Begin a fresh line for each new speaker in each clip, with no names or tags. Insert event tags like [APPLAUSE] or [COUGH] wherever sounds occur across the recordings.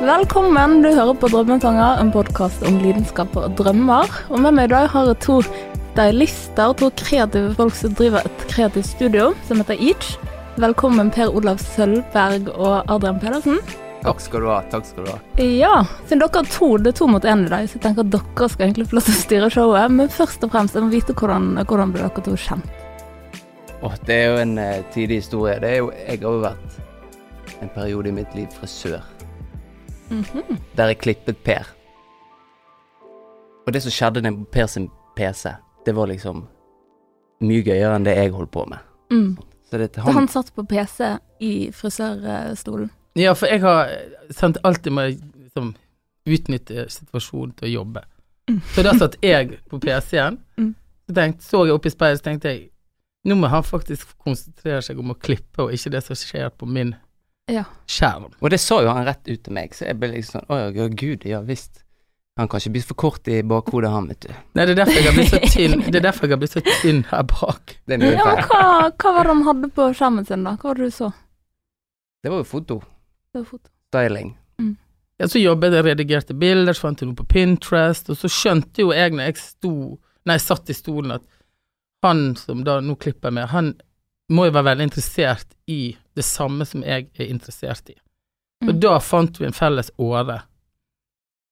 Velkommen, du hører på Drømmetanger, en podkast om lidenskaper og drømmer. Og med meg i dag har jeg to stylister, to kreative folk som driver et kreativt studio som heter Each. Velkommen Per Olav Sølvberg og Adrian Pedersen.
Takk skal du ha. takk skal du ha.
Ja, siden dere har to, det er to mot én i dag, så jeg tenker at dere skal egentlig få lov til å styre showet. Men først og fremst, jeg må vite hvordan, hvordan ble dere to kjent?
Åh, det er jo en eh, tidlig historie. Det er jo, jeg har jo vært en periode i mitt liv frisør. Der jeg klippet Per. Og det som skjedde med Per sin PC, det var liksom mye gøyere enn det jeg holdt på med.
Mm.
Så det er til
Så
han,
han satt på PC i frisørstolen.
Ja, for jeg har eh, sant, alltid må jeg liksom, utnytte situasjonen til å jobbe. Så da satt jeg på PC-en,
Mm.
så, tenkte- så jeg opp i speilet, så tenkte jeg nå må han faktisk konsentrere seg om å klippe, og ikke det som skjer på min
Ja.
skjerm.
Og det sa jo han rett ut til meg, så jeg ble liksom sånn Å ja, ja, gud, ja visst. Han kan ikke bli for kort i bakhodet, han, vet du.
Nei, det er derfor jeg har blitt så tynn, det er derfor jeg har blitt så tynn her bak.
Det er mye
Ja, men
feil.
hva, hva var det han hadde på skjermen sin, da? Hva var det du så?
Det var jo foto.
Det var foto.
Styling.
Ja, så jobbet jeg, redigerte bilder, så fant jeg noe på Pinterest, og så skjønte jo jeg når jeg sto, nei, satt i stolen, at han som da nå klipper meg, han må jo være veldig interessert i det samme som jeg er interessert i. Og
Mm.
da fant vi en felles åre.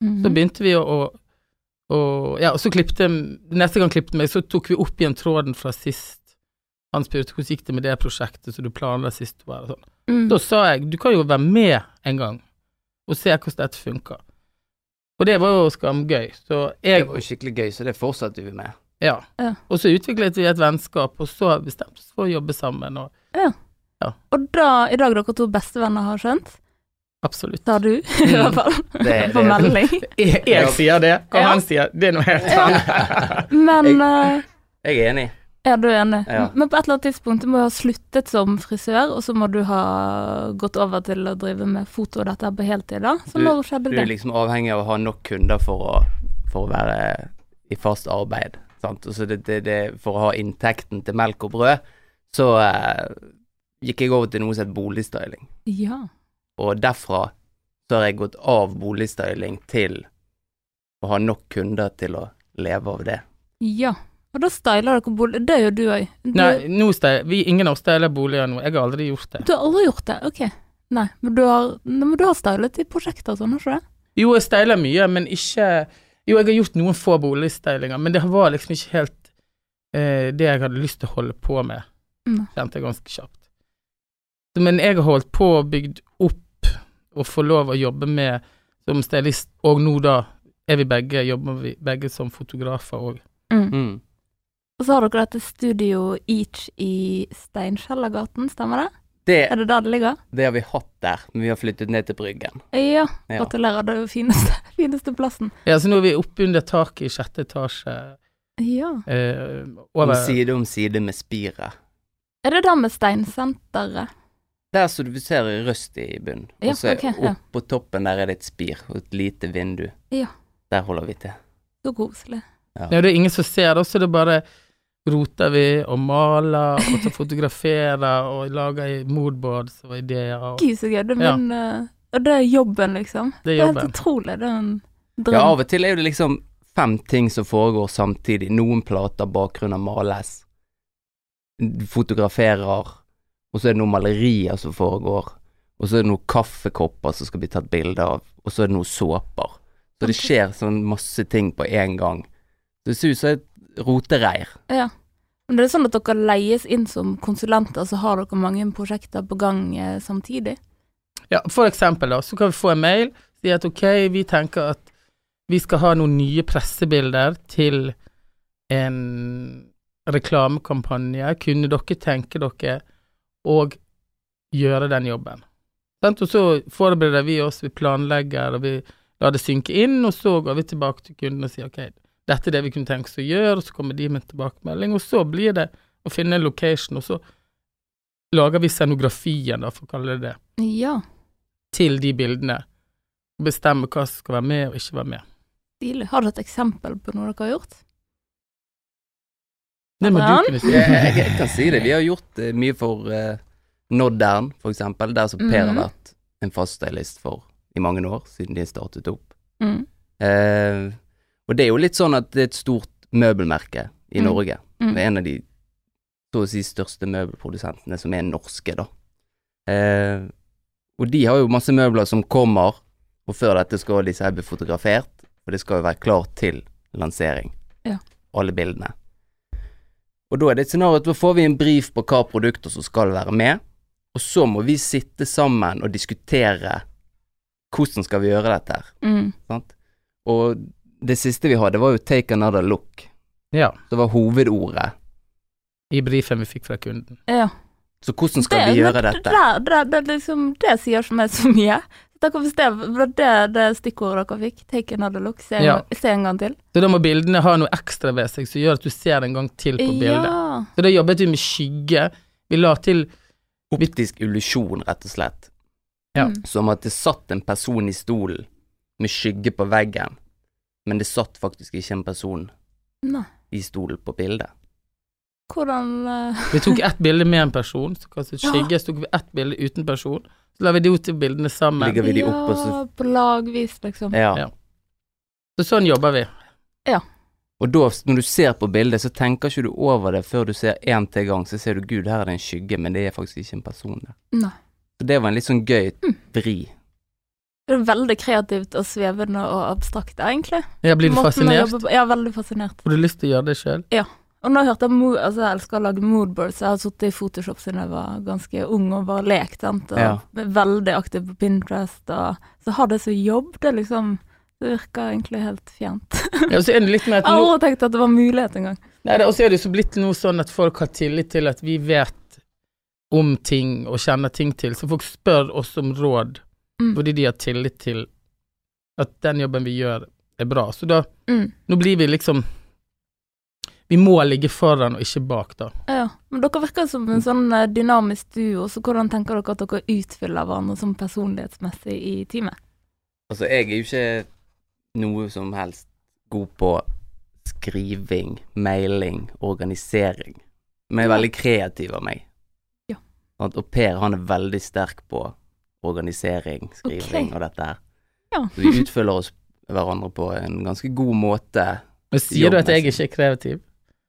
Så
Mhm.
begynte vi å, å, å Ja, og så klippte Neste gang klippte meg, så tok vi opp igjen tråden fra sist. Han spurte hvordan gikk det med det prosjektet som du planla sist du var her, og sånn.
Mm.
Da sa jeg du kan jo være med en gang og se hvordan dette funker. Og det var jo skamgøy. Så
Det
jeg
var jo skikkelig gøy, så det fortsatte vi [LAUGHS] med.
Ja.
Ja.
Og så utviklet vi et vennskap, og så bestemte vi oss for å jobbe sammen. Og
Og da, i dag er dere to bestevenner, har jeg skjønt.
absolutt.
Sa du,
Mm.
i hvert fall.
Det-
På
det- [LAUGHS]
melding.
Jeg,
jeg
sier det,
hva Ja. han
sier, det er noe helt
Men eh,
[LAUGHS] Jeg er enig.
er du enig?
Ja.
Men på et eller annet tidspunkt du må du ha sluttet som frisør, og så må du ha gått over til å drive med foto og dette her på heltid, da. Så
Du-
når skjedde
Du er
det?
liksom avhengig av å ha nok kunder for å, for å være i fast arbeid. Sant? Og så det, det, det, for å ha inntekten til melk og brød, så eh, gikk jeg over til noe som het boligstyling.
Ja.
Og derfra så har jeg gått av boligstyling til å ha nok kunder til å leve av det.
Ja. Og da styler dere bolig. Det gjør du òg.
Nei,
Du,
nå steg, vi, ingen av oss deler boliger nå. Jeg har aldri gjort det.
du har aldri gjort det? Ok. Nei, men du har, nei, men du har stylet i prosjekter og sånn, har du ikke det?
Jo, jeg steiler mye, men ikke Jo, jeg har gjort noen få boligsteilinger, men det var liksom ikke helt eh, det jeg hadde lyst til å holde på med,
Nei.
kjente jeg ganske kjapt. Så, Men jeg har holdt på og bygd opp og få lov å jobbe med som stylist, og nå da er vi begge, jobber vi begge som fotografer òg.
Mm. Og så har dere dette Studio Each i Steinkjellergaten, stemmer det?
Det,
Er det der det ligger?
det har vi hatt der, men vi har flyttet ned til Bryggen.
Ja,
Ja.
gratulerer, det er jo fineste, [LAUGHS] fineste plassen.
Ja, så nå er vi oppunder taket i sjette etasje.
Ja.
Eh,
Om
over,
side om side med spiret.
Er det der med steinsenteret?
Der som du ser i røst i bunnen.
Ja,
og så
ok, ja.
opp på toppen der er det et spir og et lite vindu.
Ja.
Der holder vi til.
Så koselig.
Ja, det er ingen som ser det, så det bare roter vi og maler og så fotograferer og lager i moodboards og ideer. Og
Gud, så gøy. Det,
Ja.
men, eh, og det er jobben, liksom.
det
Det
er
er helt
jobben.
utrolig. Det er en
Ja,
drøm.
av og til er det liksom fem ting som foregår samtidig. Noen plater, bakgrunner males, fotograferer, og så er det noen malerier som foregår, og så er det noen kaffekopper som skal bli tatt bilde av, og så er det noen såper. Så det skjer sånn masse ting på én gang. Det ser ut som et rotereir.
Men det er sånn at dere leies inn som konsulenter, så har dere mange prosjekter på gang eh, samtidig.
Ja, for eksempel, da, så kan vi få en mail si at ok, vi tenker at vi skal ha noen nye pressebilder til en reklamekampanje. Kunne dere tenke dere å gjøre den jobben? Sant? Og så forbereder vi oss, vi planlegger, og vi lar det synke inn, og så går vi tilbake til kunden og sier ok, dette er det vi kunne tenke oss å gjøre, og så kommer de med en tilbakemelding, og så blir det å finne en location, og så lager vi scenografien, da, for å kalle det det
Ja,
til de bildene. Og bestemme hva som skal være med og ikke være med.
stilig. Har du et eksempel på noe dere har gjort?
Det må
Adrian?
du kunne si. [LAUGHS]
jeg, jeg, jeg kan si det. Vi har gjort eh, mye for uh, Noddern, for eksempel, der som Per har
Mhm.
vært en fast stylist for i mange år, siden de startet opp.
Mm.
Eh, og det er jo litt sånn at det er et stort møbelmerke i
Mm.
Norge.
Mm.
Det er en av de så å si største møbelprodusentene som er norske, da. Eh, og de har jo masse møbler som kommer, og før dette skal disse her bli fotografert, og det skal jo være klart til lansering.
Ja.
Alle bildene. Og da er det et scenario at da får vi en brief på hva produkter som skal være med, og så må vi sitte sammen og diskutere hvordan skal vi gjøre dette her.
Mm.
Sant? Og det siste vi hadde, var jo 'take another look'.
Ja.
Det var hovedordet.
I brifen vi fikk fra kunden.
Ja.
Så hvordan skal vi
men
gjøre dette?
Det, det, det, er liksom, det sier ikke meg så mye. Dere forstår, var det det stikkordet dere fikk? Take another look. Se en,
Ja.
gang- se en gang til.
Så da må bildene ha noe ekstra ved seg som gjør at du ser en gang til på bildet.
Ja.
Så da jobbet vi med skygge. Vi la til
Optisk illusjon, rett og slett.
Ja.
Mm.
Som at det satt en person i stolen med skygge på veggen, men det satt faktisk ikke en person
Nei.
i stolen på bildet.
Hvordan eh,
Vi tok ett bilde med en person, så kastet
Ja.
skygge. Så tok vi ett bilde uten person. Så la vi de to bildene sammen.
Ligger vi de
ja,
opp, og så
på lagvis, liksom.
Ja.
Ja. Så sånn jobber vi.
Og da, når du ser på bildet, så tenker ikke du over det før du ser én til gang, så ser du 'gud, her er det en skygge', men det er faktisk ikke en person der.
Nei. Mm.
Så det var en litt sånn gøy vri.
Det er veldig kreativt og svevende og abstrakt, egentlig.
Ja, blir du
Måten å
fascinert?
jobbe på- Ja, veldig fascinert.
Får du lyst til å gjøre det sjøl?
Og nå hørte jeg mo- altså jeg elsker å lage moodboards, jeg har sittet i Photoshop siden jeg var ganske ung og bare lekt, sant? og
Ja.
er veldig aktiv på Pinterest, og så har det så jobb, det liksom, det virker egentlig helt fjernt.
Ja, og så er det litt mer
Jeg
at
har
nå,
aldri tenkt at det var mulighet engang.
nei, det- og så er det jo så blitt nå sånn at folk har tillit til at vi vet om ting og kjenner ting til, så folk spør oss om råd
Mm.
fordi de har tillit til at den jobben vi gjør, er bra. Så da
Mm.
Nå blir vi liksom Vi må ligge foran og ikke bak, da.
Ja, men dere virker som en sånn eh, dynamisk duo, så hvordan tenker dere at dere utfyller hverandre sånn personlighetsmessig i teamet?
Altså, jeg er jo ikke noe som helst god på skriving, mailing, organisering. Men jeg er veldig kreativ av meg. Sånn
Ja.
At, og Per, han er veldig sterk på organisering,
Ok.
skriving og dette her.
Ja.
Så vi utfyller oss hverandre på en ganske god måte.
Men sier du at jeg
Jobbmessig.
ikke er kreativ?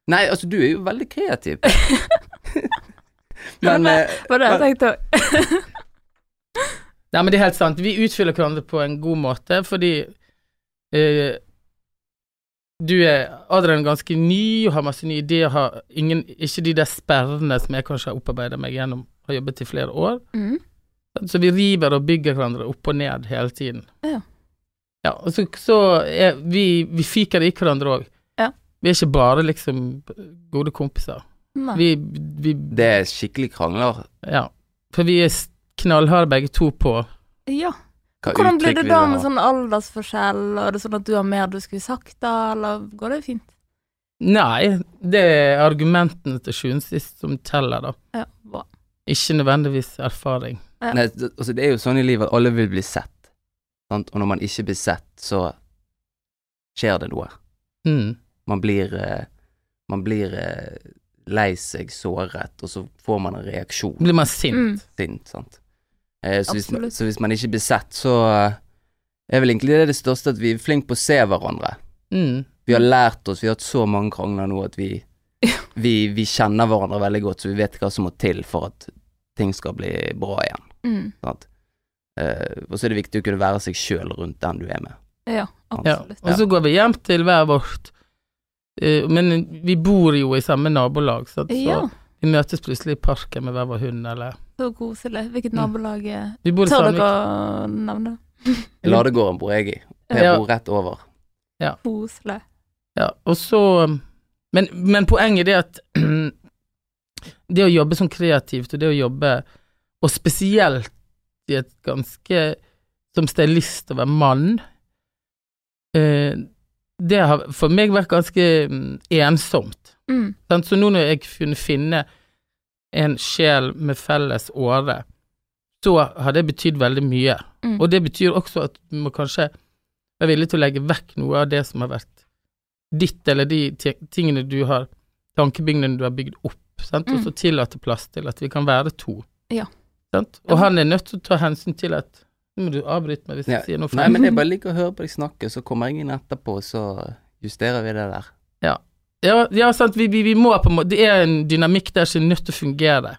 Nei, altså, du er jo veldig kreativ.
[LAUGHS]
Men eh,
Var det jeg tenkte å...
Nei, men det er helt sant. Vi utfyller hverandre på en god måte, fordi eh, du er Adrian er ganske ny og har masse nye ideer, har ingen, ikke de der sperrene som jeg kanskje har opparbeida meg gjennom å ha jobbet i flere år.
Mm.
Så vi river og bygger hverandre opp og ned hele tiden.
Ja.
Ja, og så, så er vi, vi fiker i hverandre òg.
Ja.
Vi er ikke bare liksom gode kompiser.
Nei.
Vi, vi
det er skikkelig krangler.
Ja. For vi er s- knallharde begge to på
Ja.
Hva
Hvordan blir
uttrykk
det
vi
da
vil
med
ha.
sånn aldersforskjell, og er det sånn at du har mer du skulle sagt da, eller går det fint?
Nei, det er argumentene til sjuende og sist som teller, da.
Ja, bra.
Ikke nødvendigvis erfaring.
Ja.
Nei, d- altså det er jo sånn i livet at alle vil bli sett, sant? og når man ikke blir sett, så skjer det noe.
Mm.
Man blir, eh, man blir eh, lei seg, såret, og så får man en reaksjon,
Blir man sint?
Mm.
sint, sant. Eh, så, hvis, man-
Absolutt.
så hvis man ikke blir sett, så eh, er vel egentlig det det største at vi er flinke på å se hverandre.
Mm.
Vi har lært oss, vi har hatt så mange krangler nå at vi, vi, vi kjenner hverandre veldig godt, så vi vet hva som må til for at ting skal bli bra igjen.
Mm.
Sant? Eh, og så er det viktig å kunne være seg sjøl rundt den du er med.
Ja,
Ja.
absolutt.
Og så går vi hjem til hver vårt. Eh, Men vi bor jo i samme nabolag, så, at- så
Ja,
vi møtes plutselig i parken med hver vår hund, eller
så koselig. Hvilket
Mm.
nabolag er
Vi bor i
Tør
Sandvik.
dere å nevne det?
Ladegården bor jeg i. Jeg
Ja.
bor rett over.
Koselig.
Ja, og så Men, men poenget er at [CLEARS THROAT] det å jobbe som kreativt, og det å jobbe Og spesielt i et ganske Som stylist å være mann eh, Det har for meg vært ganske mm, ensomt.
Mm.
Sant? Så nå når jeg kunne finne en sjel med felles åre, så har det betydd veldig mye.
Mm.
Og det betyr også at du må kanskje være villig til å legge vekk noe av det som har vært ditt, eller de ti- tingene du har, tankebygningene du har bygd opp, sant? og så tillate plass til at vi kan være to.
Mm. Ja.
Sant? Og han er nødt til å ta hensyn til at Nå må du avbryte meg hvis
Ja.
du sier noe
Nei,
feil.
men jeg bare liker å høre på deg snakke, så kommer jeg inn etterpå, så justerer vi det der.
Ja, ja sant, vi, vi, vi må på en måte Det er en dynamikk der som er nødt til å fungere.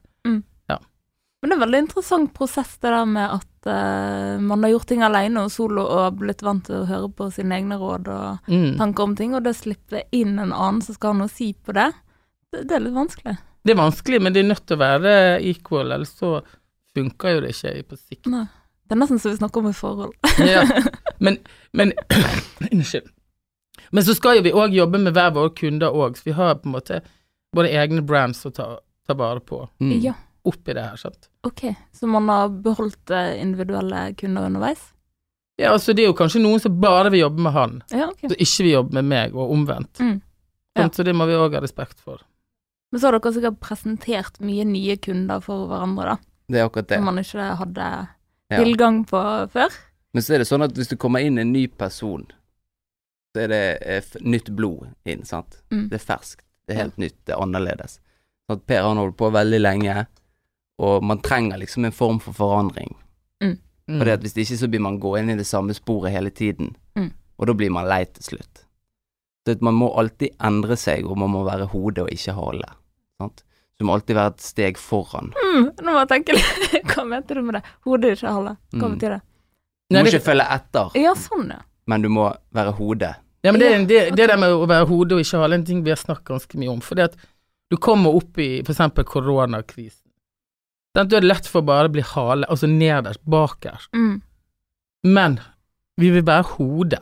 Men det er veldig interessant prosess det der med at eh, man har gjort ting alene og solo og blitt vant til å høre på sine egne råd og
Mm.
tanker om ting, og det å slippe inn en annen som skal ha noe å si på det, det, det er litt vanskelig.
Det er vanskelig, men det er nødt til å være equal, ellers så funker jo det ikke på sikt.
Nei. Det er nesten som vi snakker om i forhold.
Ja. Men, men [CLEARS THROAT] Unnskyld. Men så skal jo vi òg jobbe med hver våre kunder òg, så vi har på en måte våre egne brands å ta, ta vare på
Mm.
Ja,
oppi det her, sant.
ok. Så man har beholdt eh, individuelle kunder underveis?
Ja, altså det er jo kanskje noen som bare vil jobbe med han,
Ja, ok.
så ikke vil jobbe med meg, og omvendt.
Mm. Ja.
Sant, Så det må vi òg ha respekt for.
Men så har dere sikkert presentert mye nye kunder for hverandre, da.
Det er akkurat det.
Som man ikke hadde
Ja.
tilgang på før.
Men så er det sånn at hvis du kommer inn en ny person, så er det eh, f- nytt blod inn, sant.
Mm.
Det er ferskt, det er helt nytt, det er annerledes. Så at per han holder på veldig lenge, og man trenger liksom en form for forandring.
Mm.
For at hvis ikke så blir man gå inn i det samme sporet hele tiden,
Mm.
og da blir man lei til slutt. Så at man må alltid endre seg, og man må være hodet og ikke hale. Sant? Så du må alltid være et steg foran.
Mm, nå må jeg tenke litt. [LAUGHS] Hva mente du med det? Hodet ikke halve. Hva
Mm.
betyr det?
Du
Nei,
må
det-
ikke følge etter,
Ja, sånn, ja.
men du må være hodet.
Ja, men det,
Ja,
er- det,
ok.
det der med å være hode og ikke hale, er en ting vi har snakket ganske mye om. For det at du kommer opp i f.eks. koronakrisen. Sant, Da er det lett for å bare å bli hale, altså nederst, bakerst.
Mm.
Men vi vil være hode.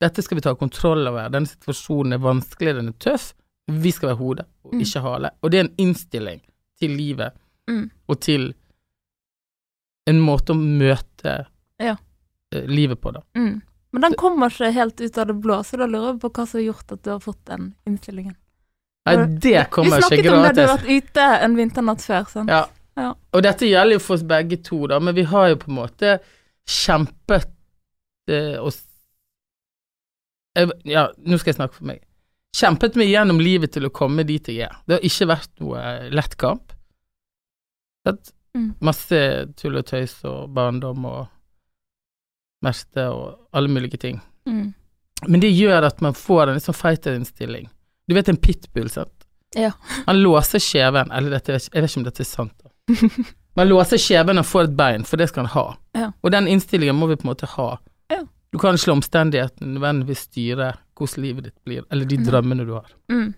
Dette skal vi ta kontroll over. Denne situasjonen er vanskelig, den er tøff. Vi skal være hode, og
Mm.
ikke hale. Og det er en innstilling til livet,
Mm.
og til en måte å møte
Ja.
eh, livet på, da.
Mm. Men den kommer ikke helt ut av det blå, så da lurer jeg på hva som har gjort at du har fått den innstillingen.
Nei,
Ja,
det kommer
Vi
ikke
snakket om det, du har
gratis.
vært ute en vinternatt før, sånn. sant?
Ja.
Ja.
Og dette gjelder jo for oss begge to, da, men vi har jo på en måte kjempet eh, oss jeg, Ja, nå skal jeg snakke for meg. Kjempet meg gjennom livet til å komme dit jeg er. Det har ikke vært noe eh, lett kamp. Sant?
Mm.
Masse tull og tøys og barndom og smerte og alle mulige ting.
Mm.
Men det gjør at man får en litt sånn fighterinnstilling. Du vet en pitbull, sant?
Ja.
Han låser kjeven, eller dette, jeg vet ikke om dette er sant. da.
[LAUGHS]
Man låser kjeven og får et bein, for det skal han ha.
Ja.
Og den innstillingen må vi på en måte ha.
Ja.
Du kan ikke la omstendighetene nødvendigvis styre hvordan livet ditt blir, eller de
Nei.
drømmene du har.
Mm.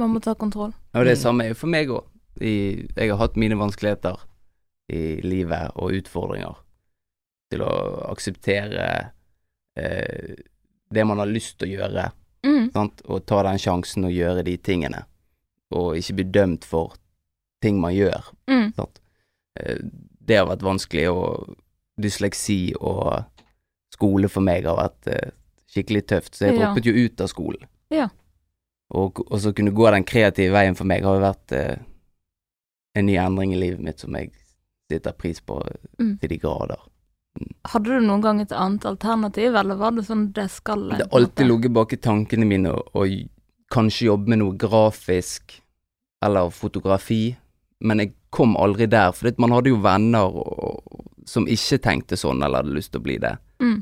Man må ta kontroll.
Og det
Mm.
samme er jo for meg òg. Jeg har hatt mine vanskeligheter i livet og utfordringer til å akseptere eh, det man har lyst til å gjøre,
Mm.
sant? og ta den sjansen og gjøre de tingene. Og ikke bli dømt for ting man gjør.
Mm.
Eh, det har vært vanskelig, og dysleksi og skole for meg har vært eh, skikkelig tøft, så jeg
Ja.
droppet jo ut av skolen.
Ja.
Og, og så kunne gå den kreative veien for meg har jo vært eh, en ny endring i livet mitt som jeg setter pris på eh,
Mm.
til de grader.
Hadde du noen gang et annet alternativ, eller var det sånn det skal
Det har alltid ligget bak i tankene mine å å j- kanskje jobbe med noe grafisk eller fotografi, men jeg kom aldri der, for man hadde jo venner og, og, som ikke tenkte sånn eller hadde lyst til å bli det.
Mm.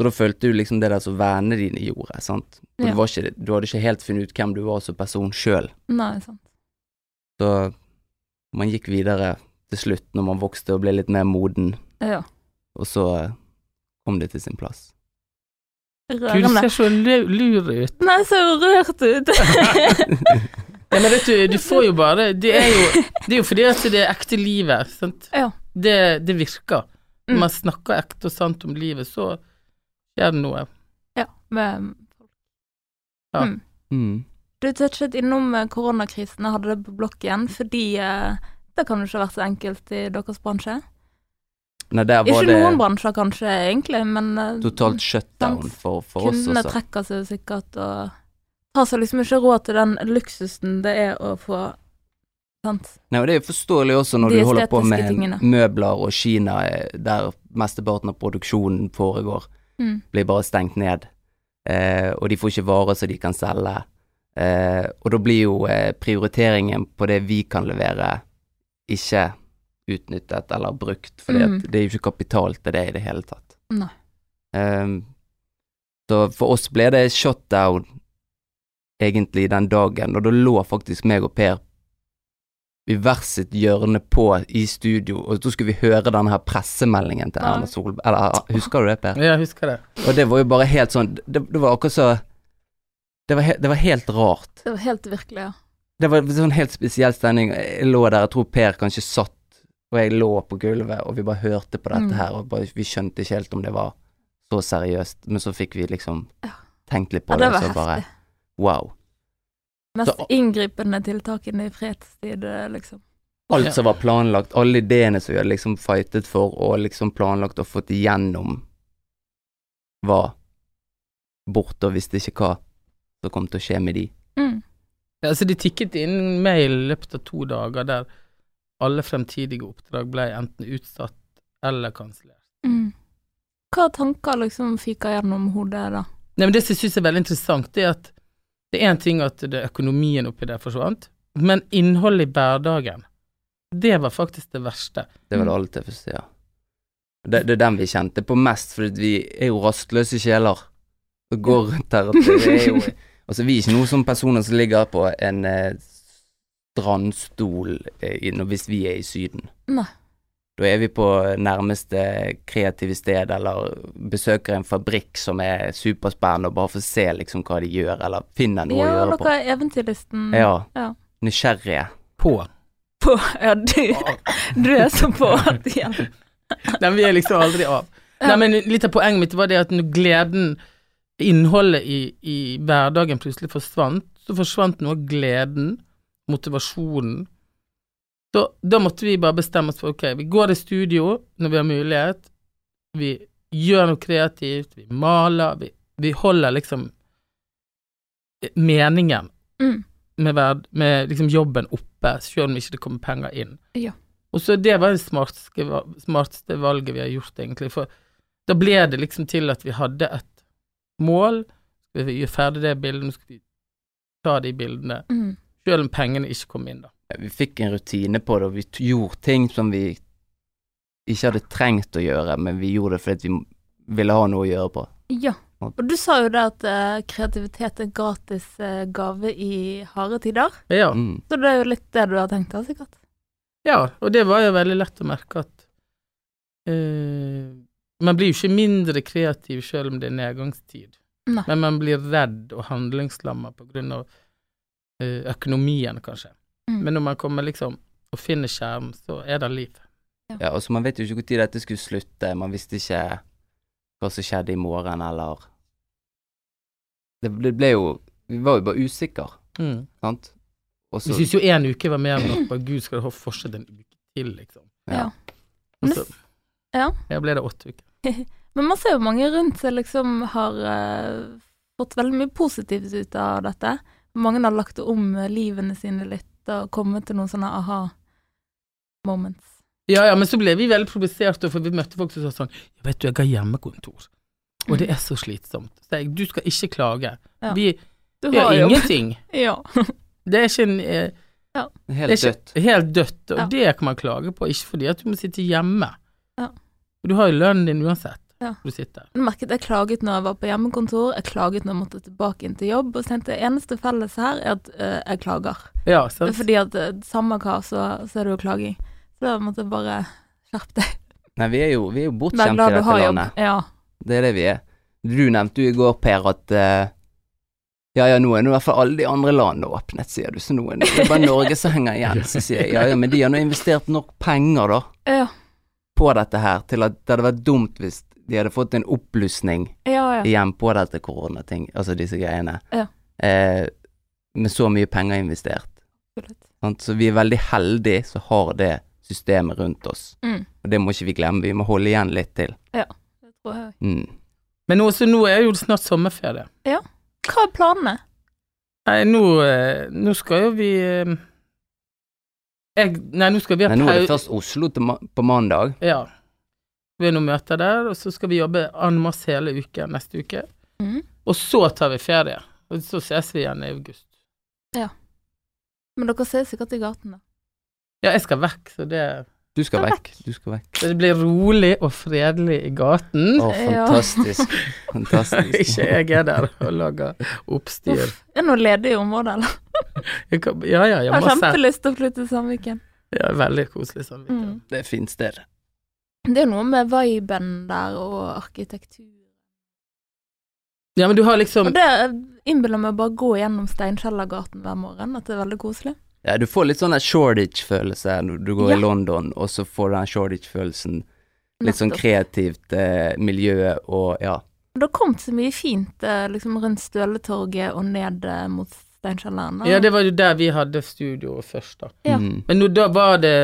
Så da følte du liksom det der som vennene dine gjorde, sant. Og
Ja.
du, var ikke, du hadde ikke helt funnet ut hvem du var som person sjøl.
Nei, sant.
Så man gikk videre til slutt, når man vokste og ble litt mer moden,
Ja.
og så eh, kom det til sin plass.
Gud, du
Rørende.
ser så lu- lur ut.
Nei, jeg ser jo rørt ut.
Ja, men vet du, du får jo bare Det er jo, det er jo fordi at det er ekte livet, sant.
Ja.
Det, det virker. Når
Mm.
man snakker ekte og sant om livet, så skjer det noe.
ja. [LAUGHS] Men
Mm.
Du touchet innom eh, koronakrisen og hadde det på blokken, fordi eh, det kan jo ikke ha vært så enkelt i deres bransje.
Nei, der var
Ikke
det
noen bransjer kanskje, egentlig, men eh,
totalt shutdown
Sant.
for, for oss
kundene
også.
trekker seg jo sikkert og tar seg liksom ikke råd til den luksusen det er å få Sant?
Nei, og det er jo forståelig også når
De
du holder på
estetiske
med
tingene.
møbler og Kina, eh, der mesteparten av produksjonen foregår,
Mm.
blir bare stengt ned. Eh, og de får ikke varer som de kan selge. Eh, og da blir jo eh, prioriteringen på det vi kan levere, ikke utnyttet eller brukt, fordi
Mm.
at det er jo ikke kapital til det i det hele tatt.
Nei.
Ehm, så for oss ble det shutdown egentlig den dagen, og da lå faktisk meg og Per i hvert sitt hjørne på i studio, og da skulle vi høre denne her pressemeldingen til
Nei.
Erna Solberg. Eller, husker du det, Per?
Ja, jeg husker det.
Og det var jo bare helt sånn Det, det var akkurat så det var, he, det var helt rart.
Det var helt virkelig, ja.
Det var sånn helt spesiell stemning. Jeg lå der, jeg tror Per kanskje satt, og jeg lå på gulvet, og vi bare hørte på dette
Mm.
her, og bare, vi skjønte ikke helt om det var så seriøst, men så fikk vi liksom
Ja.
tenkt litt på
ja
det,
det var
og så bare
heftig.
wow.
Mest
Så-
inngripende tiltakene i fredstid, eh, liksom.
Alt
Ja.
som var planlagt, alle ideene som vi hadde liksom fightet for, og liksom planlagt og fått igjennom, var borte, og visste ikke hva som kom til å skje med de.
Mm.
Ja, altså de tikket inn mail i løpet av to dager der alle fremtidige oppdrag ble enten utsatt eller kansellert.
Mm. Hva tanker liksom fyker gjennom hodet da?
Nei, men Det som jeg syns er veldig interessant, det er at det er én ting at det, økonomien oppi der forsvant, men innholdet i hverdagen, det var faktisk det verste.
Det var det
Mm.
aller tøffeste, ja. Det, det er den vi kjente på mest, for vi er jo rastløse sjeler. Og går rundt her. og Det er jo, altså, vi er ikke noen sånne personer som ligger på en eh, strandstol eh, i- når- hvis vi er i Syden.
Nei.
Da er vi på eh, nærmeste kreative sted, eller besøker en fabrikk som er superspennende, og bare får se liksom hva de gjør, eller finner noe å
ja,
gjøre på.
dere er eventyrlisten.
Ja.
Ja.
Nysgjerrige.
På.
På, [LAUGHS] ja, du, du er så på at ja.
Nei, men vi er liksom aldri av.
Ja.
Nei, men Litt av poenget mitt var det at når gleden, innholdet i, i hverdagen plutselig forsvant, så forsvant noe av gleden, motivasjonen. Da, da måtte vi bare bestemme oss for ok, vi går i studio når vi har mulighet, vi gjør noe kreativt, vi maler, vi, vi holder liksom meningen
Mm.
med, verd, med liksom jobben oppe, selv om ikke det kommer penger inn.
Ja.
Og så det var det smarteste, va- smarteste valget vi har gjort, egentlig. For da ble det liksom til at vi hadde et mål. Vi vil gjøre ferdig det bildet, nå skal vi ta de bildene.
Mm.
Selv om pengene ikke kom inn, da.
vi fikk en rutine på det, og vi t- gjorde ting som vi ikke hadde trengt å gjøre, men vi gjorde det fordi at vi m- ville ha noe å gjøre på.
Ja. Og du sa jo det at eh, kreativitet er gratis eh, gave i harde tider.
Ja,
Mm.
Så det er jo litt det du har tenkt da, sikkert.
ja og det var jo veldig lett å merke at eh, Man blir jo ikke mindre kreativ selv om det er nedgangstid,
Nei.
men man blir redd og handlingslamma på grunn av eh, økonomien, kanskje.
Mm.
Men når man kommer liksom og finner skjerm, så er det liv.
Ja, og så Man vet jo ikke når dette skulle slutte, man visste ikke hva som skjedde i morgen, eller Det, det ble jo Vi var jo bare usikre,
Mm.
sant? Og så-
Vi syns jo én uke var mer enn nok. Bare gud, skal det ha fortsatt en uke til, liksom.
Ja.
Og
Men
så
ja.
ja, ble det åtte uker.
Men man ser jo mange rundt seg liksom har eh, fått veldig mye positivt ut av dette. Mange har lagt om eh, livene sine litt og kommet til noen sånne aha moments.
Ja, ja, men så ble vi veldig provosert, for vi møtte folk som sa sånn «Ja, Vet du, jeg har hjemmekontor, og det er så slitsomt. Så jeg, du skal ikke klage.
Mm. Ja.
Vi
Du
gjør
jobb.
ingenting.
[LAUGHS] Ja.
Det er ikke en eh,
Helt
det er
dødt.
ikke- Helt dødt, og
Ja.
det kan man klage på. Ikke fordi at du må sitte hjemme.
Ja.
Og Du har jo lønnen din uansett.
Ja.
Du sitter.
Jeg merket jeg klaget når jeg var på hjemmekontor, jeg klaget når jeg måtte tilbake inn til jobb, og så tenkte jeg eneste felles her er at eh, jeg klager.
Ja, sant.
Fordi at eh, samme hva, så, så er det jo klaging. Så da måtte jeg bare skjerpe deg.
Nei, vi er jo, vi er jo
Vær
bortskjemt i
glad du
dette
har jobb.
landet.
Ja.
Det er det vi er. Du nevnte jo i går, Per, at eh, ja, ja, nå er nå i hvert fall alle de andre landene åpnet, sier du. Så nå er det det er bare Norge som henger igjen. Så sier jeg ja, ja, men de har nå investert nok penger, da,
Ja.
på dette her, til at det hadde vært dumt hvis de hadde fått en oppblussing
Ja, ja.
igjen på dette koronating, altså disse greiene.
Ja.
Eh, med så mye penger investert.
Absolutt.
Sant? Så vi er veldig heldige som har det systemet rundt oss.
Mm.
Og det må ikke vi glemme. Vi må holde igjen litt til.
Det tror jeg.
Mm.
Men også, nå er jo snart sommerferie.
Hva er planene?
Nei, nå, eh, nå skal jo vi eh, jeg, Nei, nå skal vi ha
Men nå er det
pau-
først Oslo til ma på mandag.
Ja. Vi har noen møter der, og så skal vi jobbe anmasse hele uken neste uke.
Mhm.
Og så tar vi ferie. Og så ses vi igjen i august.
Men dere ser sikkert i gaten, da.
Ja, jeg skal vekk, så det
Du skal
Skal
vekk. Du skal vekk.
Så det blir rolig og fredelig i gaten. [LAUGHS]
Å, sånn.
Ja.
fantastisk. [LAUGHS] Fantastisk.
Ikke jeg er der og lager oppstyr.
Uff, er det noe ledig i området, eller?
Jeg kan, ja, ja,
Jeg
jeg
har
må se.
kjempelyst til å flytte til Sandviken.
Ja, veldig koselig sånn.
Mm.
Det er et fint sted.
Det er noe med viben der og arkitektur.
Ja, men du har
Og
liksom
det eh, innbiller meg å bare gå gjennom Steinkjellergaten hver morgen, at det er veldig koselig.
Ja, du får litt sånn der Shoreditch-følelse når du går
Ja.
i London, og så får du den Shoreditch-følelsen. Litt sånn
Nettopp.
kreativt eh, miljø og ja.
Det har kommet så mye fint eh, liksom rundt Støletorget og ned eh, mot Steinkjelleren. da.
Ja, det var jo der vi hadde studio først, da.
Ja.
Mm. [LAUGHS]
Men nå, da var det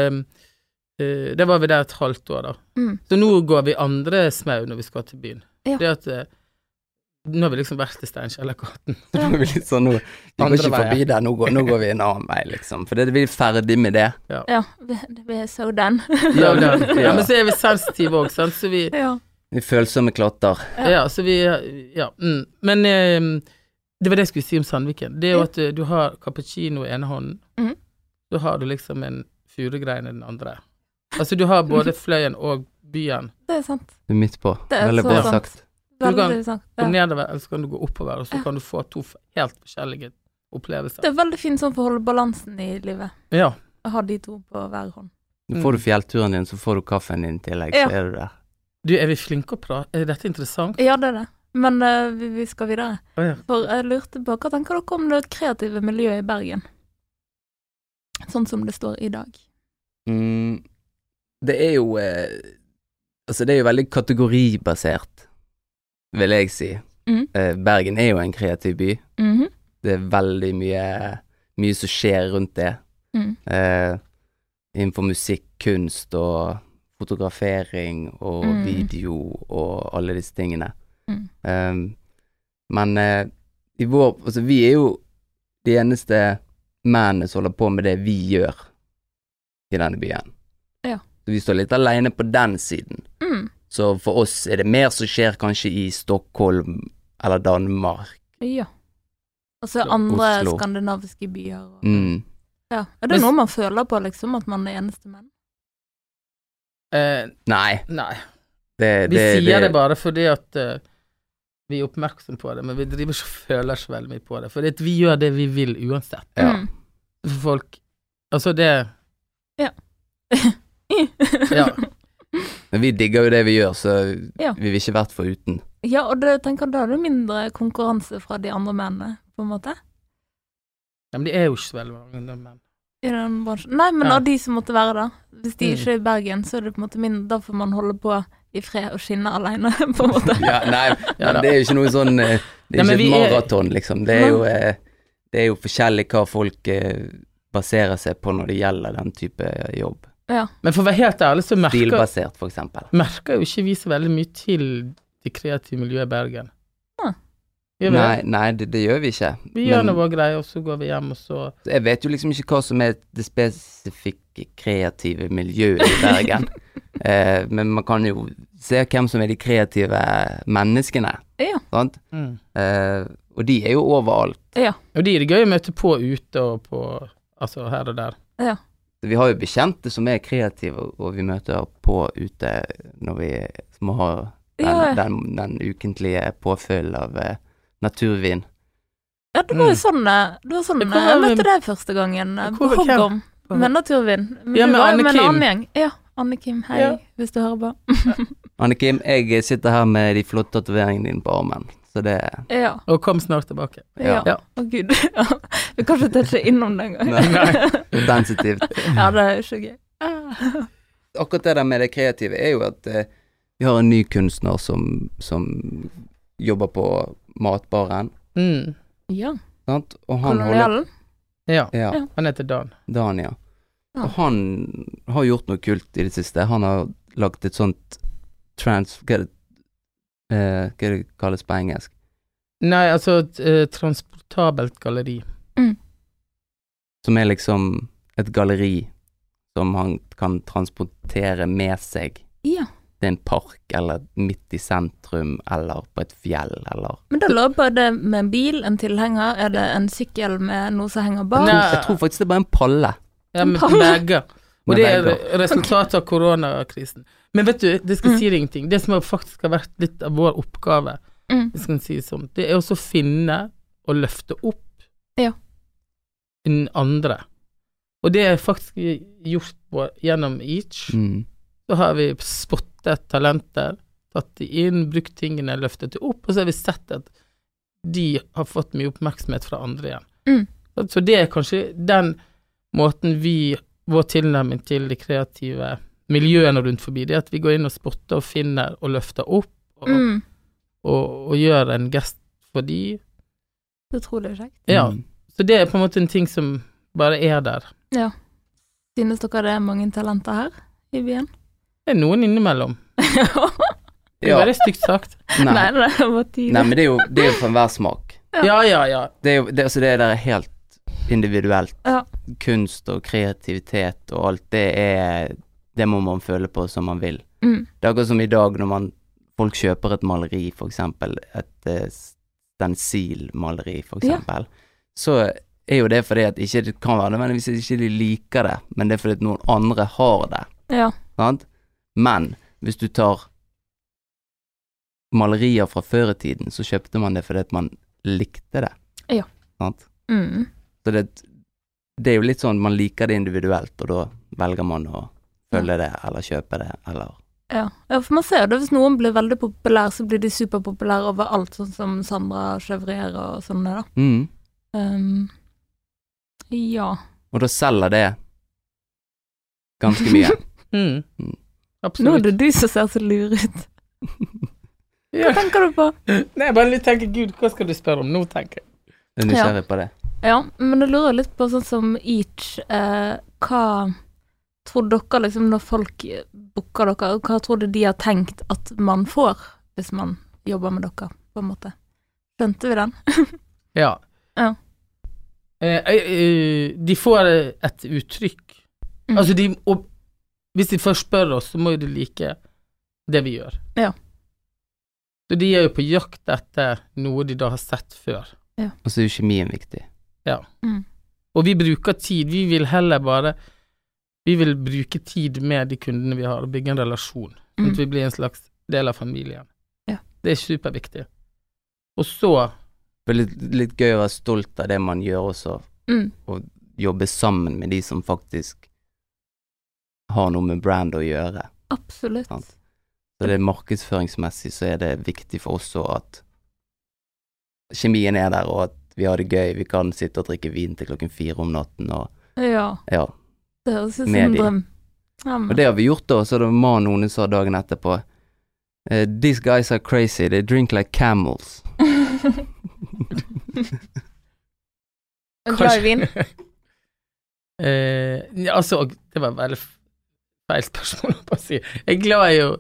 eh, Da var vi der et halvt år, da.
Mm.
Så nå går vi andre smau når vi skal til byen.
Ja.
Det at eh, Nå har vi liksom vært i Steinkjellergaten.
Det
Ja.
blir litt sånn nå Vi går
Andre
ikke forbi der, nå går, nå går vi en annen vei, liksom. For det, vi er ferdig med det.
Ja, vi, vi er so den.
[LAUGHS] Ja, ja.
Ja.
men så er vi sensitive òg, sant, så vi
ja.
Vi er følsomme klatter.
Ja.
Ja, så vi Ja. Mm. Men eh, det var det jeg skulle si om Sandviken. Det er jo
Ja.
at eh, du har cappuccino i ene hånden,
Mhm.
så har du liksom en furugrein i den andre. Altså du har både fløyen og byen.
Det er sant.
Du er midt på.
Det er
Veldig
så
bra
sant.
sagt.
Du kan-
Veldig sant.
Gå
Ja.
nedover, eller så kan du gå oppover, og så
Ja.
kan du få to f- helt forskjellige opplevelser.
Det er veldig fint sånn for å holde balansen i livet.
Ja.
Å ha de to på hver hånd.
Nå får du fjellturen din, så får du kaffen din i tillegg,
Ja.
så er du der.
Du, er vi flinke å prate? Er dette interessant?
Ja, det er det. Men eh, vi, vi skal videre.
Å ja.
For jeg lurte på hva tenker dere om det kreative miljøet i Bergen? Sånn som det står i dag.
Mm. Det er jo eh, Altså, det er jo veldig kategoribasert, vil jeg si.
Mhm.
Eh, Bergen er jo en kreativ by.
Mhm.
Det er veldig mye, mye som skjer rundt det.
Mm.
Eh, innenfor musikk, kunst og fotografering og
Mm.
video og alle disse tingene.
Mm.
Eh, men eh, i vår Altså, vi er jo de eneste mennene som holder på med det vi gjør i denne byen.
Ja.
Så vi står litt aleine på den siden.
Mm.
Så for oss er det mer som skjer kanskje i Stockholm eller Danmark.
Ja. Og så
Ja,
andre
Oslo.
skandinaviske byer. Og...
Mm.
Ja. Er det
Men-
noe man føler på, liksom, at man er eneste menn?
Eh,
Nei,
nei.
det,
Vi sier det bare fordi at eh, vi er oppmerksom på det, men vi driver ikke og føler så veldig mye på det. For det at vi gjør det vi vil uansett.
Ja.
Mm.
For folk Altså, det [LAUGHS] Ja.
Men vi digger jo det vi gjør, så
Ja.
vi vil ikke vært
[LAUGHS]
foruten.
ja, og det, tenker, da er det mindre konkurranse fra de andre mennene, på en måte?
Ja, men det er jo ikke så veldig mange nordmenn.
I den bransjen. Nei, men
Ja.
av de som måtte være der. Hvis de
Mm.
ikke er i Bergen, så er det på en måte mindre. Da får man holde på i fred og skinne alene, [LAUGHS] på en måte.
Ja, nei,
Ja da.
men det er jo ikke noe sånn eh, Det
Nei,
er ikke
men
et
vi er-
maraton, liksom. Det er jo, eh, det er jo forskjellig hva folk eh, baserer seg på når det gjelder den type jobb.
Men for å være helt ærlig, så merker,
Stilbasert, for eksempel.
merker jo ikke vi så veldig mye til det kreative miljøet i Bergen.
Ah.
Gjør vi
Nei,
det?
nei det, det gjør vi ikke.
Vi gjør nå
Men
vår greie, og så går vi hjem, og så
jeg vet jo liksom ikke hva som er det spesifikke kreative miljøet i Bergen.
[LAUGHS]
eh, men man kan jo se hvem som er de kreative menneskene,
Ja.
sant?
Mm.
Eh, og de er jo overalt.
Og de er det gøy å møte på ute og på Altså her og der.
Vi har jo bekjente som er kreative, og vi møter på ute når vi må ha den,
Ja.
den, den ukentlige påfyll av eh, naturvin.
Ja, det var jo
Mm.
sånn eh, Det var sånn
Det
eh,
kommer
Jeg
med-
møtte deg første gangen eh, på
Hvor- hvem?
Hoggorm.
På-
Med Naturvin. Men
Ja,
du
med
var jo
Anne
med en
Kim.
annen gjeng. Ja. Anne Kim, hei,
Ja.
hvis du hører på.
Anne Kim, jeg sitter her med de flotte tatoveringene dine på armen, så det
Ja.
Og kom snart tilbake.
ja.
Ja.
Å, gud. [LAUGHS] Ja. Vi kan ikke touche innom det engang.
Nei. sensitivt.
[LAUGHS] Ja, det er ikke gøy. Ah.
Akkurat det der med det kreative er jo at eh, vi har en ny kunstner som, som jobber på matbaren,
Mm.
Ja.
sant? Og han holder
Kolonialen.
Ja.
Ja,
Ja.
Han heter Dan.
Dan, ja.
Ja.
Og han har gjort noe kult i det siste. Han har lagt et sånt trans... Hva er det, eh, hva er det kalles på engelsk?
Nei, altså et eh, transportabelt galleri.
Som er liksom et galleri som han kan transportere med seg.
Ja.
Det er en park, eller midt i sentrum, eller på et fjell, eller
Men da lurer jeg på, er det med en bil, en tilhenger, er det en sykkel med noe som henger bak?
Nei.
Jeg tror faktisk det er bare en palle.
Ja, med
Palle.
bager. Og
Men
det er
velger.
resultatet av koronakrisen. Men vet du, det skal si deg ingenting. Det som har faktisk har vært litt av vår oppgave,
Mm.
hvis man kan si det sånn, det er også å finne og løfte opp
Ja.
den andre. Og det er faktisk gjort på, gjennom Each.
Mm.
Så har vi spottet talenter, tatt de inn, brukt tingene, løftet det opp, og så har vi sett at de har fått mye oppmerksomhet fra andre igjen.
Mm.
Så- Så det er kanskje den måten vi, vår tilnærming til de kreative miljøene rundt forbi, det er at vi går inn og spotter og finner og løfter opp, og,
Mm.
og, og gjør en gest for de.
Det tror jeg er kjekt.
Ja,
Mm.
så det er på en måte en ting som bare er der.
Synes dere det er mange talenter her i byen?
Det er noen innimellom. Det er
ja.
veldig stygt sagt.
[LAUGHS]
[LAUGHS]
Nei,
Nei.
det er bare
Nei,
tidlig.
men det er jo, det er jo for enhver smak.
Ja, ja, ja.
Det er jo, det, altså det der er helt individuelt.
Ja.
Kunst og kreativitet og alt, det er Det må man føle på som man vil.
Mm.
Det er akkurat som i dag når man folk kjøper et maleri, for eksempel. Et eh, stensilmaleri, for
Ja.
eksempel. Så er jo det fordi at ikke det kan være nødvendigvis at ikke de liker det, men det er fordi at noen andre har det.
Ja.
Sant? Men hvis du tar malerier fra før i tiden, så kjøpte man det fordi at man likte det.
Ja.
Sant?
Mm.
Så det, det er jo litt sånn man liker det individuelt, og da velger man å følge det, eller kjøpe det, eller
Ja. ja, for man ser jo det. Hvis noen blir veldig populær, så blir de superpopulære overalt, sånn som Sandra Chevrier og sånne, da.
mm.
Um, ja.
Og da selger det ganske [LAUGHS] mye.
Mm.
Mm.
Nå er
Absolutt.
det du som ser så lur ut. Hva
Ja.
tenker du på?
[LAUGHS] Nei, jeg bare litt tenker Gud, hva skal du spørre om nå, tenker jeg.
Jeg er nysgjerrig på det.
Ja, men jeg lurer litt på sånn som Each, eh, hva tror dere liksom når folk booker dere, hva tror du de har tenkt at man får hvis man jobber med dere, på en måte? Skjønte vi den?
Ja.
Ja.
Eh, eh, de får et uttrykk.
Mm.
Altså, de og Hvis de først spør oss, så må jo de like det vi gjør.
Ja.
Så de er jo på jakt etter noe de da har sett før.
Og så er jo kjemien viktig.
Mm.
Og vi bruker tid. Vi vil heller bare Vi vil bruke tid med de kundene vi har, og bygge en relasjon. Sånn
Mm.
at vi blir en slags del av familien.
Ja.
Det er superviktig. Og så
Det er litt, litt gøy å være stolt av det man gjør også,
Mm.
jobbe sammen med de som faktisk har noe med brand å gjøre.
Absolutt.
Sant. Så det er markedsføringsmessig så er det viktig for oss også at kjemien er der, og at vi har det gøy. Vi kan sitte og drikke vin til klokken fire om natten, og
Ja,
ja.
det høres ut som
Med
en
de.
drøm. Ja, men-
Og det har vi gjort, da. Så det var mannen noen sa dagen etterpå eh, These guys are crazy. They drink like camels.
[LAUGHS] En glad i vin.
[LAUGHS] eh, ja, altså, og det var veldig f- feil spørsmål [LAUGHS] å bare si. Jeg er glad i å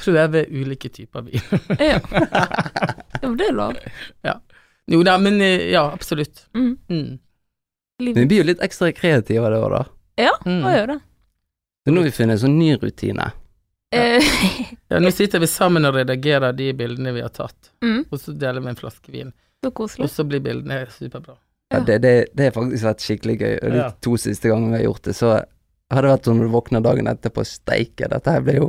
prøve ulike typer vin. [LAUGHS]
Ja, ja, men det er lov.
Jo da, men eh, ja, absolutt.
Mm.
Mm.
Men vi
Livet
blir jo litt ekstra kreative av det òg, da.
Mm.
må jo det.
Så nå har vi funnet en sånn ny rutine.
Eh, [LAUGHS]
Ja, nå sitter vi sammen og redigerer de bildene vi har tatt,
mm,
og så deler vi en flaske vin,
så
og
koselig.
så blir bildene superbra.
Ja,
Ja.
det, det, det har faktisk vært skikkelig gøy. Og de
Ja.
to siste gangene vi har gjort det, så har det vært sånn når du våkner dagen etterpå Steike, dette her ble jo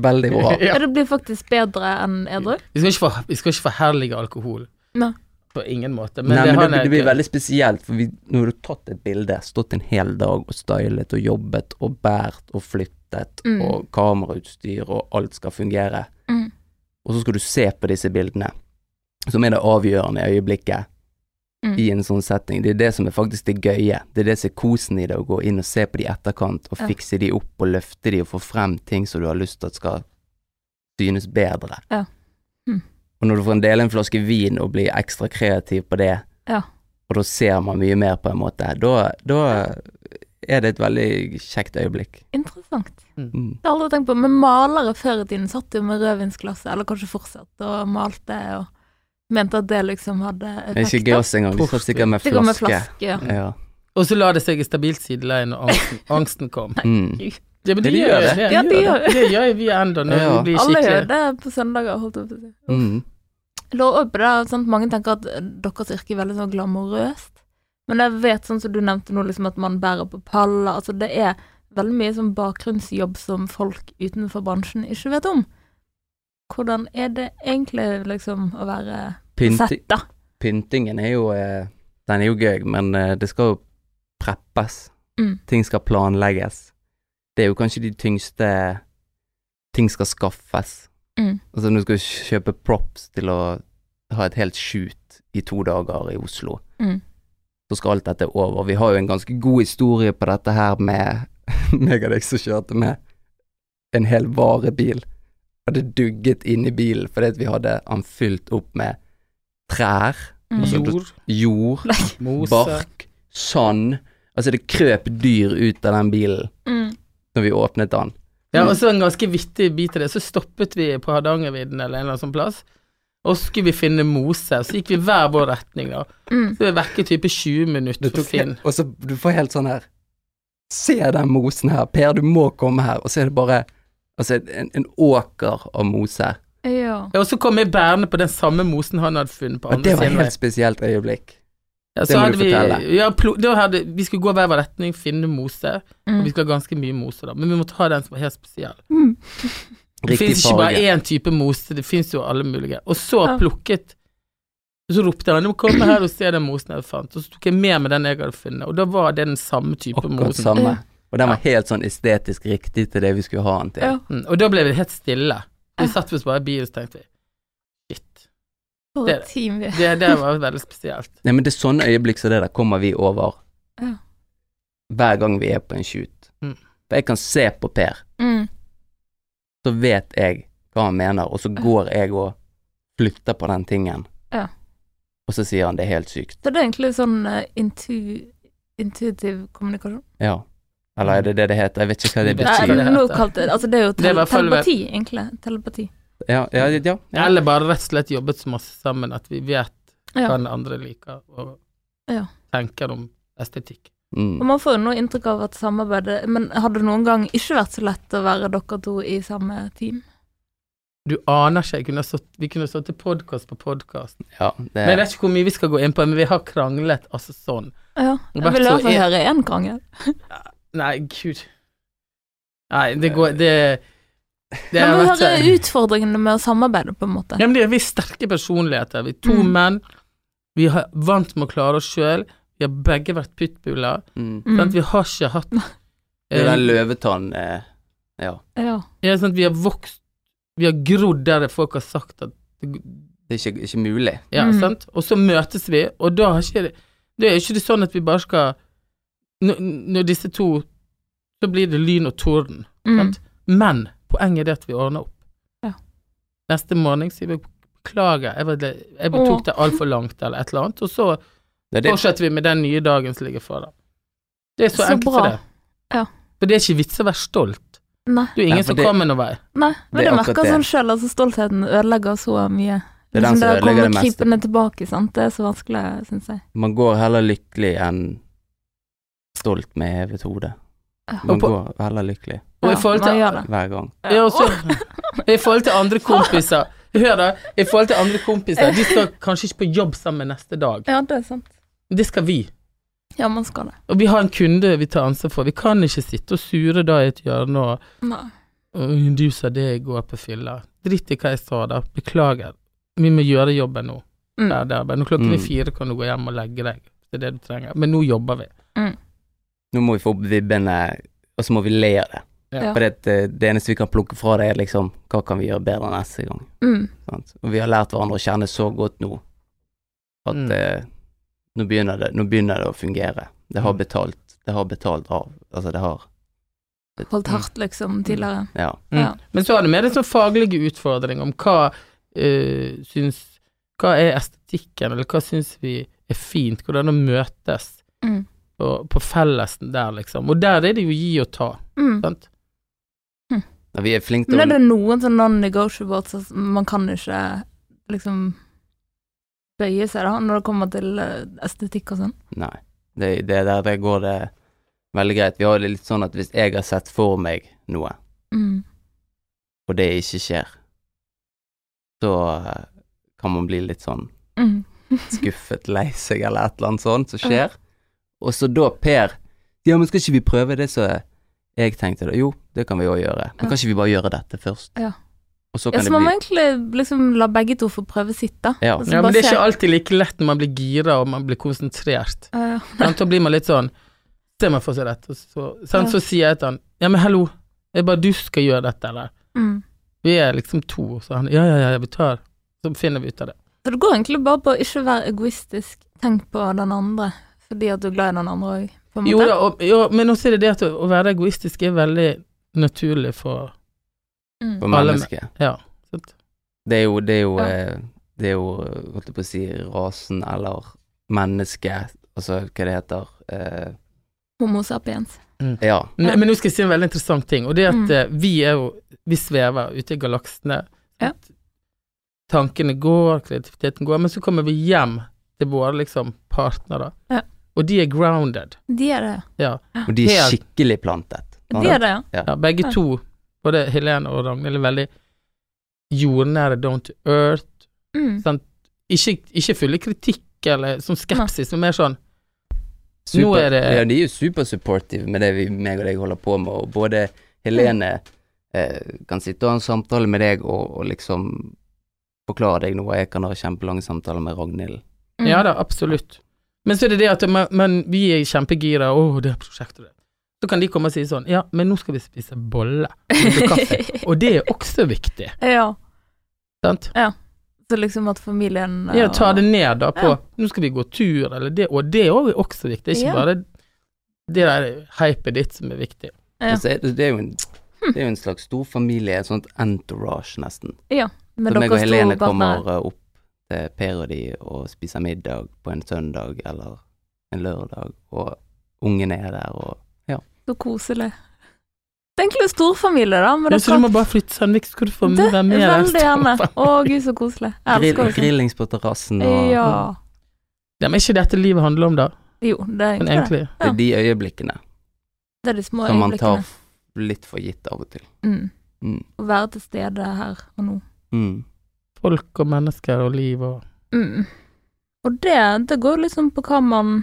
veldig bra.
Ja, det blir faktisk bedre enn edru.
Vi skal ikke, for, vi skal ikke forherlige alkohol.
Nei.
På ingen måte. [LAUGHS] Men,
Men, Nei,
det,
men
har
det,
jeg-
det blir veldig spesielt, for vi, nå har du tatt et bilde, stått en hel dag og stylet og jobbet og båret og flyttet
Mm.
og kamerautstyr og alt skal fungere,
Mm.
og så skal du se på disse bildene, som er det avgjørende øyeblikket
Mm.
i en sånn setting. Det er det som er faktisk det gøye, det er det som er kosen i det, å gå inn og se på de i etterkant og
Ja.
fikse de opp og løfte de og få frem ting som du har lyst til at skal synes bedre.
Ja. Mm.
Og når du får en del en flaske vin og blir ekstra kreativ på det,
Ja.
og da ser man mye mer på en måte, da, da er det et veldig kjekt øyeblikk.
Interessant.
Mm.
Det har jeg aldri tenkt på, men malere før i tiden satt jo med rødvinsglasset, eller kanskje fortsatt, og malte og mente at det liksom hadde
Det er
effekt.
ikke glass engang, de satt sikkert med
Det går med
flaske.
flaske, ja.
Ja.
Og så la det seg i stabilt sideleie når angsten, angsten
[LAUGHS]
kom.
Mm.
Ja, men
Ja, de gjør det.
Ja, de gjør
det. Det gjør vi ennå når
Ja.
vi blir
Alle gjør
skikkelig
det på søndager, holdt jeg på å si.
Mm.
Jeg lurer også på det, sant? Mange tenker at eh, deres yrke er veldig sånn glamorøst, men jeg vet sånn som du nevnte nå, liksom at man bærer på paller, altså det er veldig mye sånn bakgrunnsjobb som folk utenfor bransjen ikke vet om. Hvordan er det egentlig liksom å være
Pynti,
sett, da?
pyntingen er jo eh, Den er jo gøy, men eh, det skal jo preppes.
Mm.
Ting skal planlegges. Det er jo kanskje de tyngste Ting skal skaffes.
Mm.
Altså, du skal kjøpe props til å ha et helt shoot i to dager i Oslo.
Mm.
Så skal alt dette over. Vi har jo en ganske god historie på dette her med [LAUGHS] meg og deg som kjørte med en hel varebil. Hadde dugget inn i bilen fordi at vi hadde han fylt opp med trær,
Mm.
altså, du-
Jord,
jord,
mose
bark, sand. Altså, det krøp dyr ut av den bilen
[LAUGHS] Mm.
når vi åpnet den.
Ja, og så en ganske vittig bit av det. Så stoppet vi på Hardangervidda eller en eller annen sånn plass, og så skulle vi finne mose. Så gikk vi hver vår retning, da.
Mm.
Så vi vekke type 20
Det
minutter for
tok
Finn.
Og så du får helt sånn her Se den mosen her, Per, du må komme her. Og så er det bare altså, en, en åker av mose.
Ja.
Ja, og så kom jeg bærende på den samme mosen han hadde funnet på
Og det
andre
var et
siden.
helt spesielt øyeblikk.
Ja,
det
så
må
hadde
du
vi,
fortelle.
ja, plo, da hadde, vi skulle gå hver vår retning, finne mose. Og
Mm.
vi skulle ha ganske mye mose, da, men vi måtte ha den som var helt spesiell.
Mm.
Det
Riktig
fins ikke bare
farge.
én type mose, det fins jo alle mulige. Og så
Ja.
plukket Så ropte han 'nå kom jeg her og se den mosen jeg fant', og så tok jeg med meg den jeg hadde funnet, og da var det den samme type
Akkurat
mosen.
samme.
Ja.
Og den var helt sånn estetisk riktig til det vi skulle ha den
Ja.
til.
Mm, og da ble vi helt stille. Vi
Ja.
satt oss bare i bilen, så tenkte vi shit.
For
Det-
et team vi er.
Det, det var veldig spesielt.
Nei, men det er sånne øyeblikk som det der kommer vi over
Ja.
hver gang vi er på en shoot.
Mm.
For jeg kan se på Per,
Mm.
så vet jeg hva han mener, og så går jeg og flytter på den tingen.
Ja.
Og så sier han det er helt sykt.
Så det er egentlig sånn eh, intu, intuitiv kommunikasjon.
Ja. Eller er det det det heter? Jeg vet ikke hva det
Det er
Nei,
betyr.
det
nå
heter.
kalte Altså, det er jo
Det er i
tele
hvert fall-
telepati, egentlig. Telepati.
Ja, ja, ja. ja.
Eller bare rett og slett jobbet så masse sammen at vi vet
Ja.
hva den andre liker, og
Ja.
tenker om estetikk.
Og
Mm.
man får jo noe inntrykk av at samarbeidet Men hadde det noen gang ikke vært så lett å være dere to i samme team?
Du aner ikke, jeg kunne ha stått, vi kunne ha stått til podkast på podkast.
ja
Men jeg
det,
vet ikke hvor mye vi skal gå inn på, men vi har kranglet altså sånn.
Ja.
Vært
Jeg vil i
så
hvert fall
en-
høre én krangel.
Nei, gud. Nei, det
Eh.
går Det, det
Man må
vet
høre
jeg-
utfordringene med å samarbeide, på en måte.
Ja, men det er vi sterke personligheter. Vi er to
Mm.
menn. Vi har vant med å klare oss sjøl. Vi har begge vært pitbuller.
mm.
Mm.
Sant? Vi har ikke hatt
det er
eh,
den løvetann eh, Ja.
Ja.
ja, sant? Vi har vokst Vi har grodd der folk har sagt at det-
Det er ikke, ikke mulig.
Ja,
Mm.
sant? Og så møtes vi, og da har ikke det Det er ikke det sånn at vi bare skal Når, når disse to Så blir det lyn og torden.
Mm.
Sant? Men poenget er det at vi ordner opp.
Ja.
Neste morgen sier vi beklager, jeg, var, jeg tok det altfor langt, eller et eller annet. Og så
Det er det.
fortsetter vi med den nye dagen som ligger foran. Det er så,
Så
enkelt
bra.
for det.
Ja.
For det er ikke vits å være stolt.
Nei.
Du er ingen
Nei, for
som
det-
kommer noen vei.
Nei,
Det
men
er
du
akkurat
merker
det.
sånn sjøl, altså stoltheten ødelegger så mye.
Det er den
Liksom,
som
å komme
ødelegger det meste.
krypende tilbake, sant. Det er så vanskelig, syns jeg.
Man går heller lykkelig enn stolt med hevet hode.
Ja.
Man
Og på-
går heller lykkelig
Og i forhold til-
man gjør det.
hver gang.
Ja, og så, [LAUGHS] I forhold til andre kompiser Hør da, i forhold til andre kompiser De skal kanskje ikke på jobb sammen neste dag.
ja, det er sant.
Det skal vi.
Ja, man skal det.
Og vi har en kunde vi tar ansvar for. Vi kan ikke sitte og sure da i et hjørne og
Nei.
«Åh, Du sa det i går på fylla. Drit i hva jeg sa da. Beklager. Vi må gjøre jobben nå.
Mm.
Der, der. Men klokken er
Mm.
fire, kan du gå hjem og legge deg. Det er det du trenger. Men nå jobber vi.
Nå må vi få opp vibbene, og så må vi le av det.
Ja.
For det, eh, det eneste vi kan plukke fra det, er liksom Hva kan vi gjøre bedre neste gang?
Mm.
Sant? Og vi har lært hverandre å kjenne så godt nå at
Mm.
eh, nå, begynner det, nå begynner det å fungere. Det har
Mm.
betalt. Det har betalt av. Altså, det har
Holdt hardt, liksom, tidligere.
Ja.
Mm.
Ja.
Men så er det mer en sånn faglig utfordring om hva eh, syns Hva er estetikken, eller hva syns vi er fint? Hvordan å møtes
Mm.
og, på fellesen der, liksom. Og der er det jo gi og ta,
Mm.
sant?
Ja, Vi er flinke til
Men er
å
det noen sånn non-negotiables som man kan ikke liksom bøye seg da, når det kommer til eh, estetikk og sånn?
Nei. Det, det, der det går det veldig greit. Vi har det litt sånn at hvis jeg har sett for meg noe,
Mm.
og det ikke skjer, så eh, kan man bli litt sånn
Mm.
skuffet, lei seg eller et eller annet sånt som skjer. Og så da Per Ja, men skal ikke vi prøve det som Jeg tenkte da, jo, det kan vi jo gjøre. Men
Ja.
kan ikke vi bare gjøre dette først?
Ja.
Og så
Ja,
kan
så
det
man må Altså,
bli
egentlig liksom la begge to få prøve sitt, da.
Ja.
Og så
Ja,
bare
men det er
se-
ikke alltid like lett når man blir gira og man blir konsentrert.
Ja, ja.
Sant? Da blir man litt sånn Se meg for seg rett. Og så, sant? så sier jeg til han Ja, men hallo, det er bare du skal gjøre dette, eller?
Mm.
Vi er liksom to, så han Ja, ja, ja, vi tar Så finner vi ut av det.
Så det går egentlig bare på å ikke være egoistisk. Tenk på den andre, fordi at du er glad i den andre òg, på en måte.
Jo da, og, jo, men også er det det at å, å være egoistisk er veldig naturlig for
Mm.
på
alle-
mennesket.
Ja. Sant?
Det er jo, det er jo,
Ja.
eh, det er jo eh, holdt jeg på å si, rasen eller mennesket, altså hva det heter eh,
Homo sapiens.
Ja.
Men, men nå skal jeg si en veldig interessant ting, og det er at
Mm.
eh, vi er jo Vi svever ute i galaksene.
Ja.
sant? Tankene går, kreativiteten går, men så kommer vi hjem til våre liksom partnere,
Ja.
og de er grounded.
De er det,
Ja.
Og de er
Helt.
skikkelig plantet.
ja. De er det, ja.
Ja, begge
Ja.
to, både Helene og Ragnhild, er veldig jordnære, down to earth.
Mm.
Ikke, ikke fulle kritikk eller som skepsis, men mer sånn
Super,
Nå er det-
ja, de er jo supersupportive med det vi, meg og deg holder på med, og både Helene eh, kan sitte og ha en samtale med deg og, og liksom forklare deg noe, og jeg kan ha kjempelange samtaler med Ragnhild.
Mm.
Ja da, absolutt. Men så er det det at man, man, vi er kjempegira, å, det er prosjektet det. Så kan de komme og si sånn, ja, men nå skal vi spise bolle og drikke kaffe. Og det er også viktig,
Mm. [LAUGHS] ja. [LAUGHS]
sant?
Så liksom at familien
Ja, ta det ned da på,
Ja.
nå skal vi gå tur, eller det, og det er også- også viktig, ikke
Ja.
bare det der hypet ditt som er viktig.
Ja.
Men så er det, det, er jo en, det er jo en slags stor familie, et sånt entourage nesten.
med
Så meg og
deres to
Helene
partnere.
kommer eh, opp til Per og de og spiser middag på en søndag eller en lørdag, og ungene er der, og
Så koselig. Det er egentlig en storfamilie, da. Men
Ja,
det,
så du må bare flytte Sandvik, så skal du få
Det
være med.
er
der.
veldig
[LAUGHS]
gjerne. Å, gud, så koselig. Jeg
grill,
elsker det.
grillings på terrassen, og
Ja.
Ja, men er ikke dette livet handler om da,
Jo, det er
men
egentlig det.
det
egentlig?
er de øyeblikkene
Det er de små
som man tar
øyeblikkene.
f- litt for gitt av og til.
Mm.
Mm.
Å være til stede her og nå.
Mm.
Folk og mennesker og liv og...
Mm. Og det, det går liksom på hva man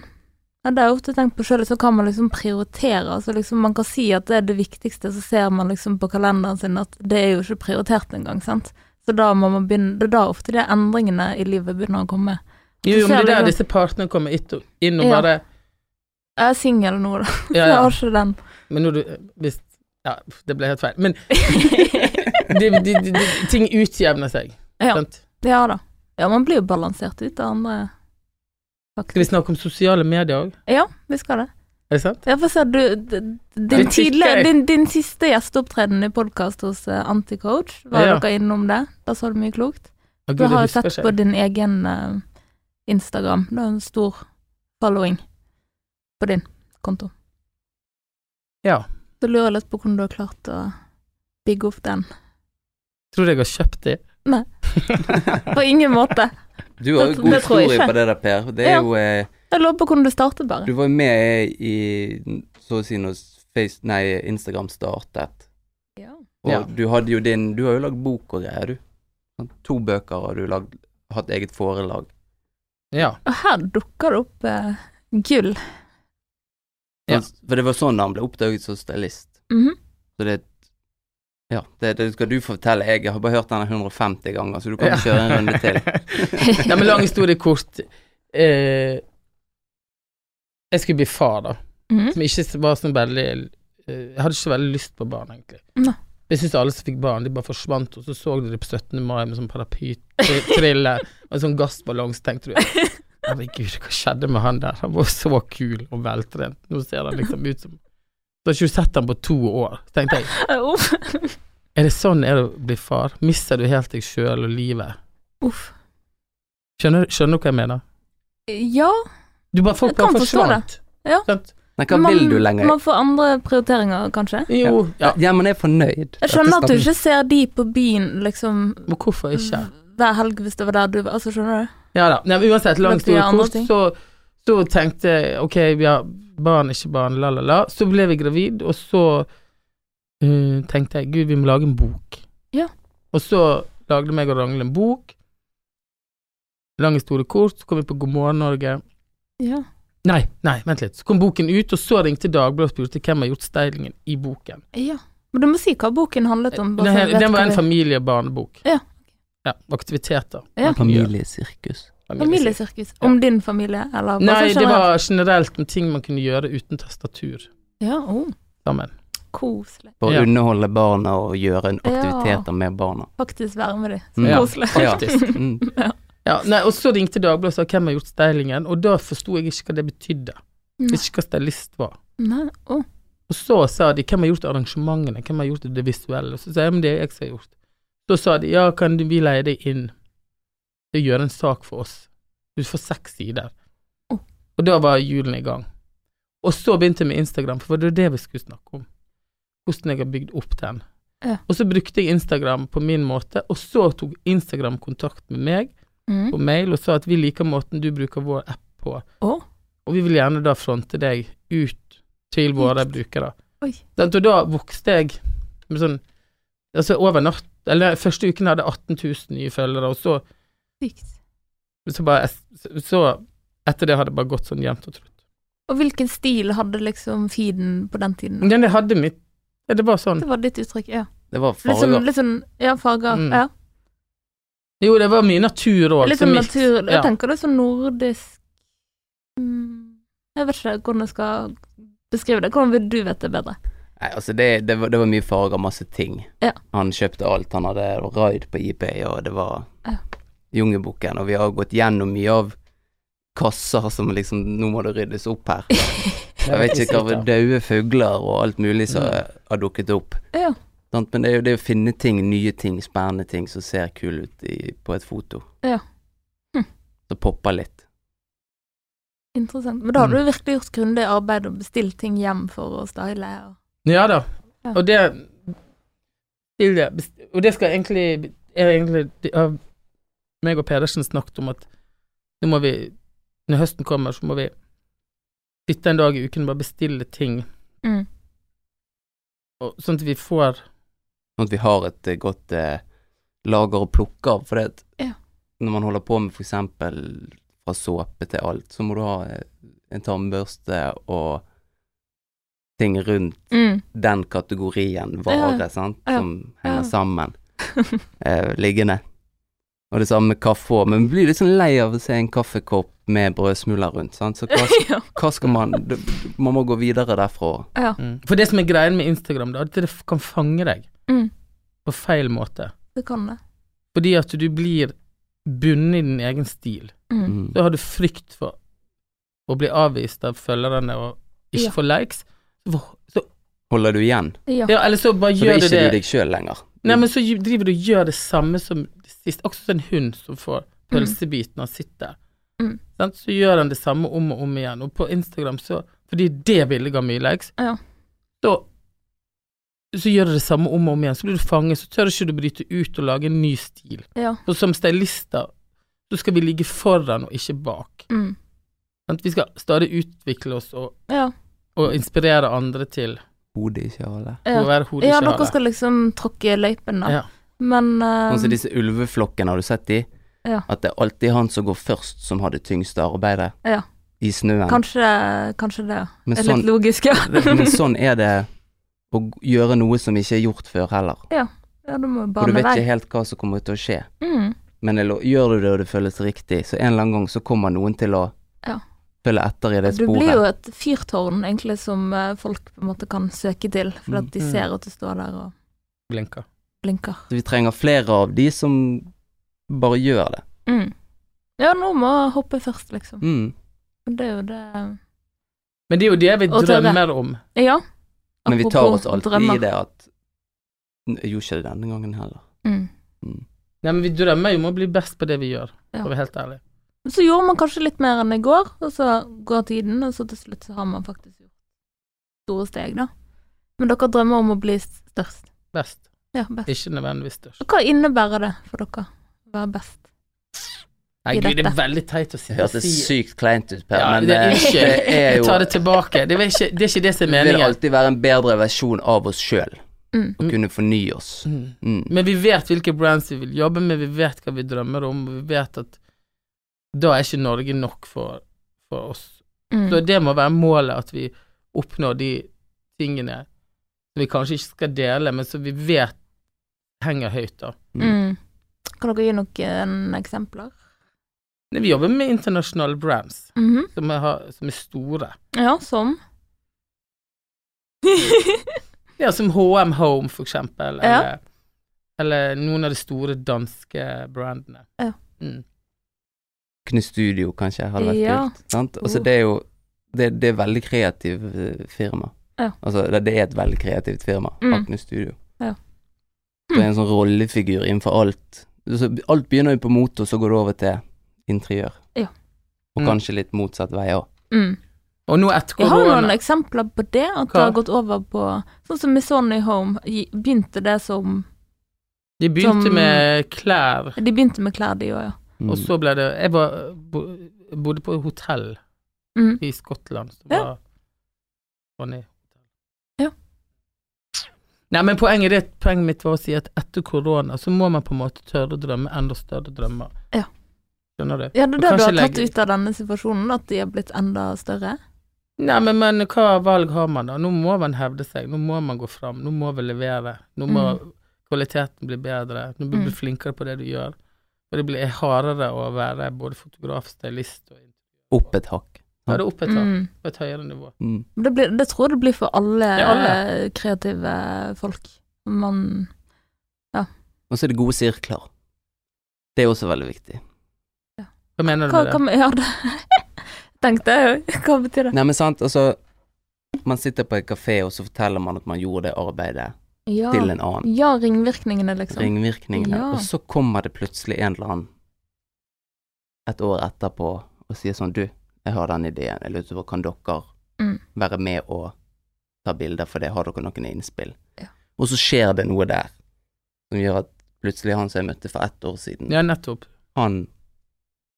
ja, Det har jeg ofte tenkt på sjøl, så kan man liksom prioritere. Altså liksom man kan si at det er det viktigste, så ser man liksom på kalenderen sin at det er jo ikke prioritert engang, sant. Så da må man begynne Det er da ofte de endringene i livet begynner å komme.
Jo,
Så
jo, men det
er
er der
det-
disse partene kommer it- inn og
Ja.
bare...
Jeg er singel nå, da. [LAUGHS]
Ja,
Jeg
ja.
har ikke den.
Men når du hvis, Ja, det ble helt feil. Men de, de, de, de, ting utjevner seg.
Ja.
Sant?
[LAUGHS] ja da. Ja, man blir jo balansert ut av andre,
Skal vi
faktisk.
snakke om sosiale medier òg?
Ja, vi skal det.
Er det sant?
Ja, for se, du, d-
Vi
din,
fikk
tidligere,
det.
din, din siste gjesteopptreden i podkast hos eh, Anticoach, var
Ja.
dere innom det? Da sa du mye klokt.
Å,
Du
jeg
har jo
husker
sett på
ikke.
din egen eh, Instagram. Du har en stor following på din konto.
Ja.
Så lurer jeg litt på hvordan du har klart å bygge opp den.
Tror du jeg har kjøpt det?
På ingen måte.
Du har
Det-
jo god
det tror jeg
historie
ikke.
på det der, Per. Det er
Ja.
jo eh,
Jeg lurer på hvordan du startet, bare.
Du var jo med i så å si når face, nei, Instagram startet.
Ja.
Og
Ja.
du hadde jo din Du har jo lagd bok og greier, du. Sant? To bøker har du lagd, hatt eget forelag.
Ja.
Og her dukker det opp eh, gull.
Ja.
Sant? For det var sånn han ble oppdaget som stylist.
Mhm.
Så det Ja, det, det skal du fortelle. Jeg har bare hørt den 150 ganger, så du kan
Ja.
kjøre en runde
[LAUGHS]
til.
ja, men lang historie kort. Eh, jeg skulle bli far, da.
Mhm.
Som ikke var sånn veldig eh, Jeg hadde ikke så veldig lyst på barn, egentlig.
Nei.
Jeg syns alle som fikk barn, de bare forsvant, og så så du det på 17. mai med sånn paraplytrille og sånn gassballong, så tenkte du Herregud, hva skjedde med han der? Han var så kul og veltrent. Nå ser han liksom ut som Så har ikke du sett han på to år. Så tenkte jeg,
[LAUGHS] Uff.
er det sånn er det å bli far? Mister du helt deg sjøl og livet?
Uff.
Skjønner, skjønner du hva jeg mener?
Ja,
Du bare, folk
Jeg kan
bare
forstå
forsvant.
det. Ja.
Sant?
Men hva
man,
vil du lenger?
man får andre prioriteringer, kanskje.
Jo. Ja.
ja. men jeg er fornøyd.
Jeg skjønner at du ikke ser de på byen liksom
Men hvorfor ikke?
hver helg hvis det var der du var. Altså, skjønner du?
Ja da. Nei, men uansett, lang
Men det er
historie
andre
kort,
ting.
så, så tenkte jeg ok, vi har barn, ikke barn, la, la, la. Så ble vi gravid, og så eh, tenkte jeg gud, vi må lage en bok.
Ja.
Og så lagde meg og Ragnhild en bok. Lang historie kort, så kom vi på God morgen Norge.
Ja.
Nei.
Nei, vent litt. Så kom boken ut, og så ringte Dagbladet og spurte hvem har gjort stylingen i boken.
Ja. Men du må si hva boken handlet om. bare
Den,
så
her,
jeg vet
den var
hva
en
vi-
familie- og barnebok.
Ja.
Ja, aktiviteter.
Ja.
man kan gjøre.
Familiesirkus.
Familiesirkus.
Familiesirkus. Om din familie, eller bare
Nei,
sånn
det
generelt?
var generelt med ting man kunne gjøre uten tastatur
Ja, oh,
sammen.
koselig.
For å
Ja.
underholde barna og gjøre en
Ja.
aktiviteter med barna.
Faktisk være med dem.
Mm.
Koselig.
Ja. Mm.
Ja, nei, og så ringte Dagbladet og sa hvem har gjort stylingen, og da forsto jeg ikke hva det betydde.
Nei.
Ikke hva stylist var.
Mm. Nei, oh.
Og så sa de hvem har gjort arrangementene, hvem har gjort det visuelle, og så sa jeg men det er jeg som har gjort. Så sa de ja, kan vi leie deg inn til å gjøre en sak for oss. Du får seks sider.
Å.
Og da var julen i gang. Og så begynte jeg med Instagram, for det var det vi skulle snakke om. Hvordan jeg har bygd opp den.
Ja.
Og så brukte jeg Instagram på min måte, og så tok Instagram kontakt med meg
Mm.
på mail og sa at vi liker måten du bruker vår app på,
Å.
og vi vil gjerne da fronte deg ut til våre brukere.
Oi.
Sant, og da vokste jeg med sånn altså over natt, eller første uken hadde jeg 18 000 nye følgere, og så,
Sykt.
så bare så etter det hadde det bare gått sånn jevnt og trutt.
Og hvilken stil hadde liksom feeden på den tiden?
Men jeg hadde mitt ja, Det var sånn.
Det var ditt uttrykk, ja.
Det var
Litt sånn,
farger.
litt sånn ja, farger.
Mm.
Ja.
Jo, det var mye natur òg.
Litt sånn natur Jeg
Ja.
tenker det er sånn nordisk mm, Jeg vet ikke hvordan jeg skal beskrive det. Hvordan vil du vite det [LAUGHS] bedre?
Nei, altså det, det, var, det var mye farger, masse ting.
Ja.
Han kjøpte alt. Han hadde raid på IP, og det var
Ja.
Jungelbukken. Og vi har gått gjennom mye av kasser som liksom Nå må det ryddes opp her. Jeg vet ikke hva Døde fugler og alt mulig som
Mm.
eh, har dukket opp.
Ja.
Sant? Men det er jo det å finne ting, nye ting, spennende ting som ser kule ut i, på et foto.
Ja. Hm.
Som popper litt.
Interessant. Men da har
Mm.
du virkelig gjort grundig arbeid og bestilt ting hjem for å style. Og...
Ja da.
Ja.
Og det til det best- Og det skal egentlig er egentlig det har meg og Pedersen snakket om at nå må vi Når høsten kommer, så må vi sitte en dag i uken og bare bestille ting,
Mm.
og, sånn at vi får
Sånn at vi har et eh, godt eh, lager å plukke av. For det at
Ja.
når man holder på med f.eks. fra såpe til alt, så må du ha eh, en tannbørste og ting rundt
Mm.
den kategorien vare, sant,
Ja.
som henger
Ja.
sammen, eh, liggende. Og det samme med kaffe òg, men blir litt sånn lei av å se en kaffekopp med brødsmuler rundt, sant, så hva,
[LAUGHS] ja.
hva skal man du- Man må gå videre derfra.
For det som er greien med Instagram, da, er at det kan fange deg
Mm.
på feil måte.
Det kan det.
Fordi at du blir bundet i din egen stil.
Mm.
Mm.
Da har du frykt for å bli avvist av følgerne og ikke
Ja.
få likes. Hvor- Så,
Holder du igjen,
Ja.
ja, eller så bare
så
gjør
det er
det
ikke du
det.
deg sjøl lenger.
Mm.
Nei, men så gj- driver du og gjør det samme som sist. Akkurat som en hund som får pølsebit når han sitter.
Mm.
Sant? Så gjør han det samme om og om igjen. Og på Instagram, så fordi det bildet ga mye likes,
Ja.
så så gjør du det samme om og om igjen. Så blir du fanget, så tør ikke du bryte ut og lage en ny stil.
Ja.
For som stylister, så skal vi ligge foran og ikke bak.
Mm.
Sant? Vi skal stadig utvikle oss og,
Ja.
og inspirere andre til
Hodet i kjølet.
å
Ja.
være hodet
ja,
i
dere
kjølet.
skal liksom tråkke i løypen, da.
Ja.
Men eh,
Sånn som disse ulveflokkene, har du sett de?
Ja.
At det er alltid han som går først, som har det tyngste arbeidet.
Ja.
I snøen.
kanskje, kanskje det
Men
er
sånn
litt logisk, ja.
[LAUGHS]
[LAUGHS]
Men sånn er det å g- gjøre noe som ikke er gjort før heller.
ja. Du må
For
bane
du vet
vei.
ikke helt hva som kommer til å skje.
Mm.
Men det, lo- gjør du det og det føles riktig, så en eller annen gang så kommer noen til å
Ja.
følge etter i det
Du blir jo
sporet.
et fyrtårn, egentlig, som eh, folk på en måte kan søke til, fordi at de
Mm.
ser at du står der og
Blinker.
blinker.
Så vi trenger flere av de som bare gjør det.
Mm. Ja, nå må jeg hoppe først, liksom.
Mm.
Men Det er jo det
Men det er jo det vi
Og tørre.
drømmer om.
Ja.
Men vi tar
Apropos
oss alltid
drømmer.
i det at N- Jeg gjorde ikke det denne gangen heller.
Mm.
Nei, men vi drømmer jo om å bli best på det vi gjør,
Ja.
for å være helt ærlig.
Så gjorde man kanskje litt mer enn i går, og så går tiden, og så til slutt så har man faktisk gjort store steg, da. Men dere drømmer om å bli størst.
Best.
Ja, best.
Ikke nødvendigvis størst.
Og hva innebærer det for dere å være best?
Nei,
I
gud, det
dette.
er veldig teit å si.
Det hørtes sykt kleint ut, Per,
ja,
men
det er
eh, [LAUGHS]
ikke,
det er
Jeg
jo
tar det tilbake. Det er ikke det, er ikke det som
[LAUGHS]
er
Vi vil
meningen.
alltid være en bedre versjon av oss sjøl.
Mm.
Å kunne fornye oss.
Mm.
Mm.
Men vi vet hvilke brands vi vil jobbe med, vi vet hva vi drømmer om, og vi vet at da er ikke Norge nok for, for oss
Mm.
Så det må være målet, at vi oppnår de tingene som vi kanskje ikke skal dele, men som vi vet henger høyt, da.
Mm. Kan dere gi noen eksempler?
Men Vi jobber med internasjonale brands,
Mhm.
som er, har- som er store.
Ja, sånn. som
Ja, som HM Home, for eksempel,
Ja.
eller, eller noen av de store danske brandene.
Ja.
Mm.
Knust Studio, kanskje, hadde vært
Ja.
kult. Sant? Altså,
Oh.
det er jo det, det er veldig kreativt eh, firma.
Ja.
Altså, det, det er et veldig kreativt firma,
Mm.
Akne Studio.
Ja. Mm.
Det er en sånn rollefigur innenfor alt. Altså, alt begynner jo på motor, så går det over til interiør.
Ja.
Og
Mm.
kanskje litt motsatt vei òg.
mm.
Og nå etter
Jeg har noen
korona
eksempler på det, at det har
Hva?
gått over på Sånn som Missoni Home, gi- begynte det som
De begynte
som-
med klær,
De begynte med klær, de òg, ja.
Mm.
og så ble det Jeg var, bo, bodde på et hotell
Mm.
i Skottland som
Ja.
var Ronny.
Ja.
Nei, men poenget, det, poenget mitt var å si at etter korona så må man på en måte tørre å drømme enda større drømmer.
Ja.
Skjønner du?
Ja, det er
Og
det du har
kanskje
tatt
legge-
ut av denne situasjonen, at de har blitt enda større?
Nei, men, men hva valg har man da? Nå må man hevde seg, nå må man gå fram, nå må vi levere. Nå må kvaliteten bli bedre, nå blir du
Mm.
flinkere på det du gjør. Og det blir hardere å være både fotograf, stylist og
Mm. Opp et hakk.
Ja, det er opp et, tak,
Mm.
på et høyere nivå.
Mm.
Men Det, blir, det tror jeg det blir for alle,
Ja, alle.
eh, kreative folk. Man
Og så er det gode sirkler. Det er også veldig viktig.
Hva mener du
Hva
med det?
kan man gjøre det? [LAUGHS] Tenkte jeg jo. Hva betyr det?
Nei, men sant, altså Man sitter på en kafé, og så forteller man at man gjorde det arbeidet
Ja,
til en annen.
ja ringvirkningene, Ah, liksom.
ringvirkningene.
Ja.
Og så kommer det plutselig en eller annen et år etterpå og sier sånn Du, jeg har den ideen. Jeg lurer på, kan dere
Mm.
være med og ta bilder for det? Har dere noen innspill?
Ja.
Og så skjer det noe der som gjør at plutselig han som jeg møtte for ett år siden,
Ja, nettopp.
han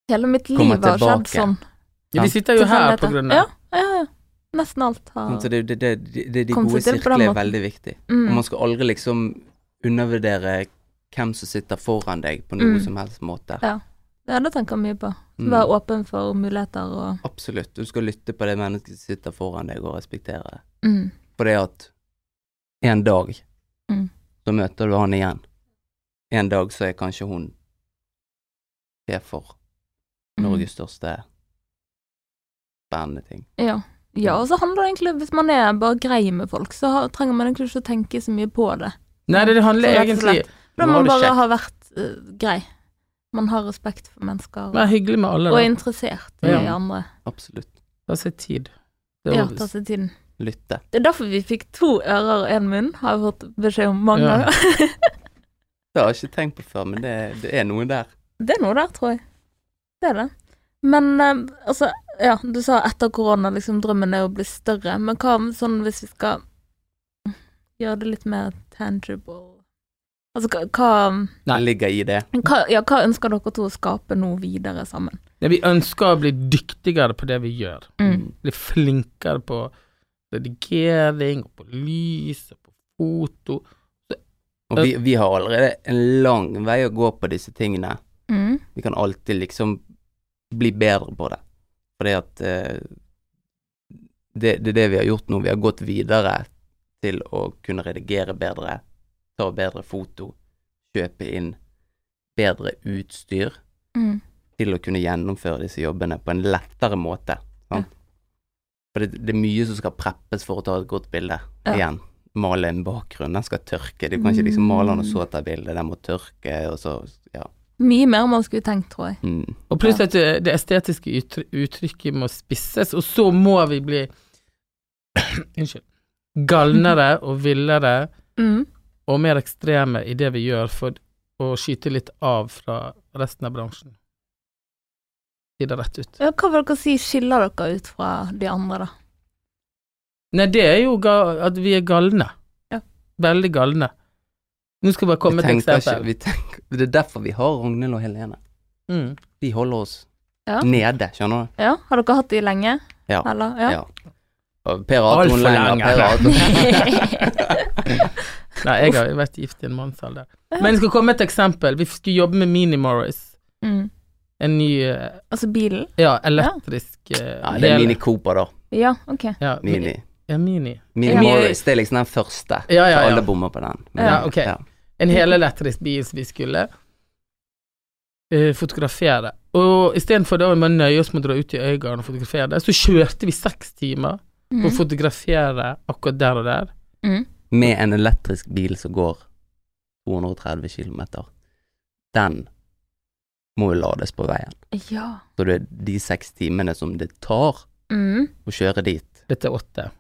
Hele mitt liv
Kommer
har skjedd
tilbake.
sånn.
Ja,
Ja.
vi sitter jo her på
Tilfeldigheter.
grunn av
Ja, ja, ja. Nesten alt har
sant, Så det, det, det, det, det de
Ah. Kom
gode
seg til på den
sirklene er
måten.
veldig viktig. Og
mm.
man skal aldri liksom undervurdere hvem som sitter foran deg på noe
Mm.
som helst måte.
Ja. Ja, det tenker jeg mye på.
Mm.
Være åpen for muligheter og
Absolutt. Du skal lytte på det mennesket som sitter foran deg, og respektere det.
mm.
For det at en dag
Mm.
så møter du han igjen. En dag så er kanskje hun sjef for
Mm.
Norges største spennende ting.
Ja. ja, og så handler det egentlig Hvis man er bare grei med folk, så har, trenger man egentlig ikke å tenke så mye på det.
Nei, det, det handler
Så rett og
egentlig
slett.
Nå
Da
har
man
du
bare
sjekk.
har vært eh, grei. Man har respekt for mennesker og,
Vær hyggelig med alle,
og er
da.
interessert i
Ja.
andre.
Absolutt.
Ta seg tid. Det er
Ja,
jo-
ta seg tiden.
Lytte.
Det er derfor vi fikk to ører og én munn, har jeg fått beskjed om mange
Ja.
ganger. [LAUGHS]
Det har jeg ikke tenkt på før, men det, det er noe der.
Det er noe der, tror jeg. Det er det. Men eh, altså, ja, du sa etter korona, liksom drømmen er å bli større. Men hva om sånn hvis vi skal gjøre det litt mer tangible Altså hva- hva,
Nei.
Det ligger i det.
hva, ja, hva ønsker dere to å skape nå videre sammen?
Nei, vi ønsker å bli dyktigere på det vi gjør.
Mm.
Bli flinkere på redigering, på lys, på foto.
Og vi, vi har allerede en lang vei å gå på disse tingene.
Mm.
Vi kan alltid liksom bli bedre på det. Fordi at eh, det, det er det vi har gjort nå. Vi har gått videre til å kunne redigere bedre, ta bedre foto, kjøpe inn bedre utstyr
Mm.
til å kunne gjennomføre disse jobbene på en lettere måte. Sant? For det, det er mye som skal preppes for å ta et godt bilde.
Ja.
Igjen. Male en bakgrunn. Den skal tørke. Du kan ikke liksom male den og så ta bilde. Den må tørke, og så Ja.
Mye mer enn man skulle tenkt, tror jeg.
Mm.
Og pluss at det, det estetiske ytr- uttrykket må spisses, og så må vi bli [CLEARS THROAT] Unnskyld.
[LAUGHS]
Galnere og villere
Mm.
og mer ekstreme i det vi gjør, for å skyte litt av fra resten av bransjen. Si det rett ut.
Ja, hva vil dere si skiller dere ut fra de andre, da?
Nei, det er jo ga at vi er galne.
Ja.
Veldig galne. Nå skal jeg bare komme
Vi
med et
tenker ikke-
eksempel.
vi tenker, det er derfor vi har Ragnhild og Helene.
Mm.
De holder oss
Ja.
nede, skjønner du?
Ja, Har dere hatt de lenge?
Ja.
Eller? Ja.
Ja. Og per har hatt
Alt
noen
for
lenger.
lenge.
Per har hatt
[LAUGHS] Nei, jeg har jo vært gift i en mannsalder. Men jeg skal komme med et eksempel. Vi skulle jobbe med Mini Morris.
[LAUGHS] mm.
en ny eh,
Altså bilen?
Ja, elektrisk eh,
Ja, det er
hel-
Mini Cooper, da.
Ja, OK.
Ja,
Mini.
Ja, mini.
Mini
Ja.
Morris. Det er liksom den første.
Ja,
For
ja,
Alle
ja.
bommer på den.
Ja, ok. En helelektrisk bil som vi skulle eh, fotografere. Og istedenfor da vi må nøye oss med å dra ut i Øygarden og fotografere det, så kjørte vi seks timer på
Mhm.
å
Mm.
fotografere akkurat der og der.
Mm.
Med en elektrisk bil som går 230 km. Den må jo lades på veien.
Ja.
Så det er de seks timene som det tar
Mm.
å kjøre dit.
Dette er åtte.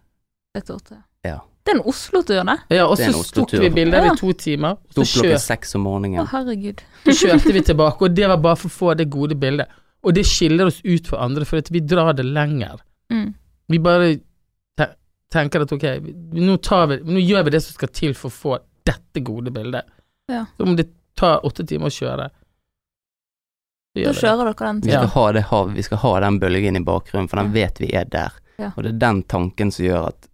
Det tror jeg.
Ja.
Det er en Oslo-tur, det.
Ja, og
Det er en
så tok
Oslo-tur.
vi bilder
Ja.
i to timer,
Sto
og så
klokka
kjør,
seks
Å,
om morgenen.
herregud.
kjørte vi tilbake, og det var bare for å få det gode bildet. Og det skiller oss ut fra andre, for at vi drar det lenger.
Mm.
Vi bare te- tenker at ok, vi- nå, tar vi, nå gjør vi det som skal til for å få dette gode bildet.
Ja.
Så om det tar åtte timer å kjøre, så
Så
gjør vi det.
kjører dere den
Vi
turen.
skal, ha det, hav- vi skal ha den bølgen i bakgrunnen, for den vet vi er der.
Ja.
Og det er den tanken som gjør at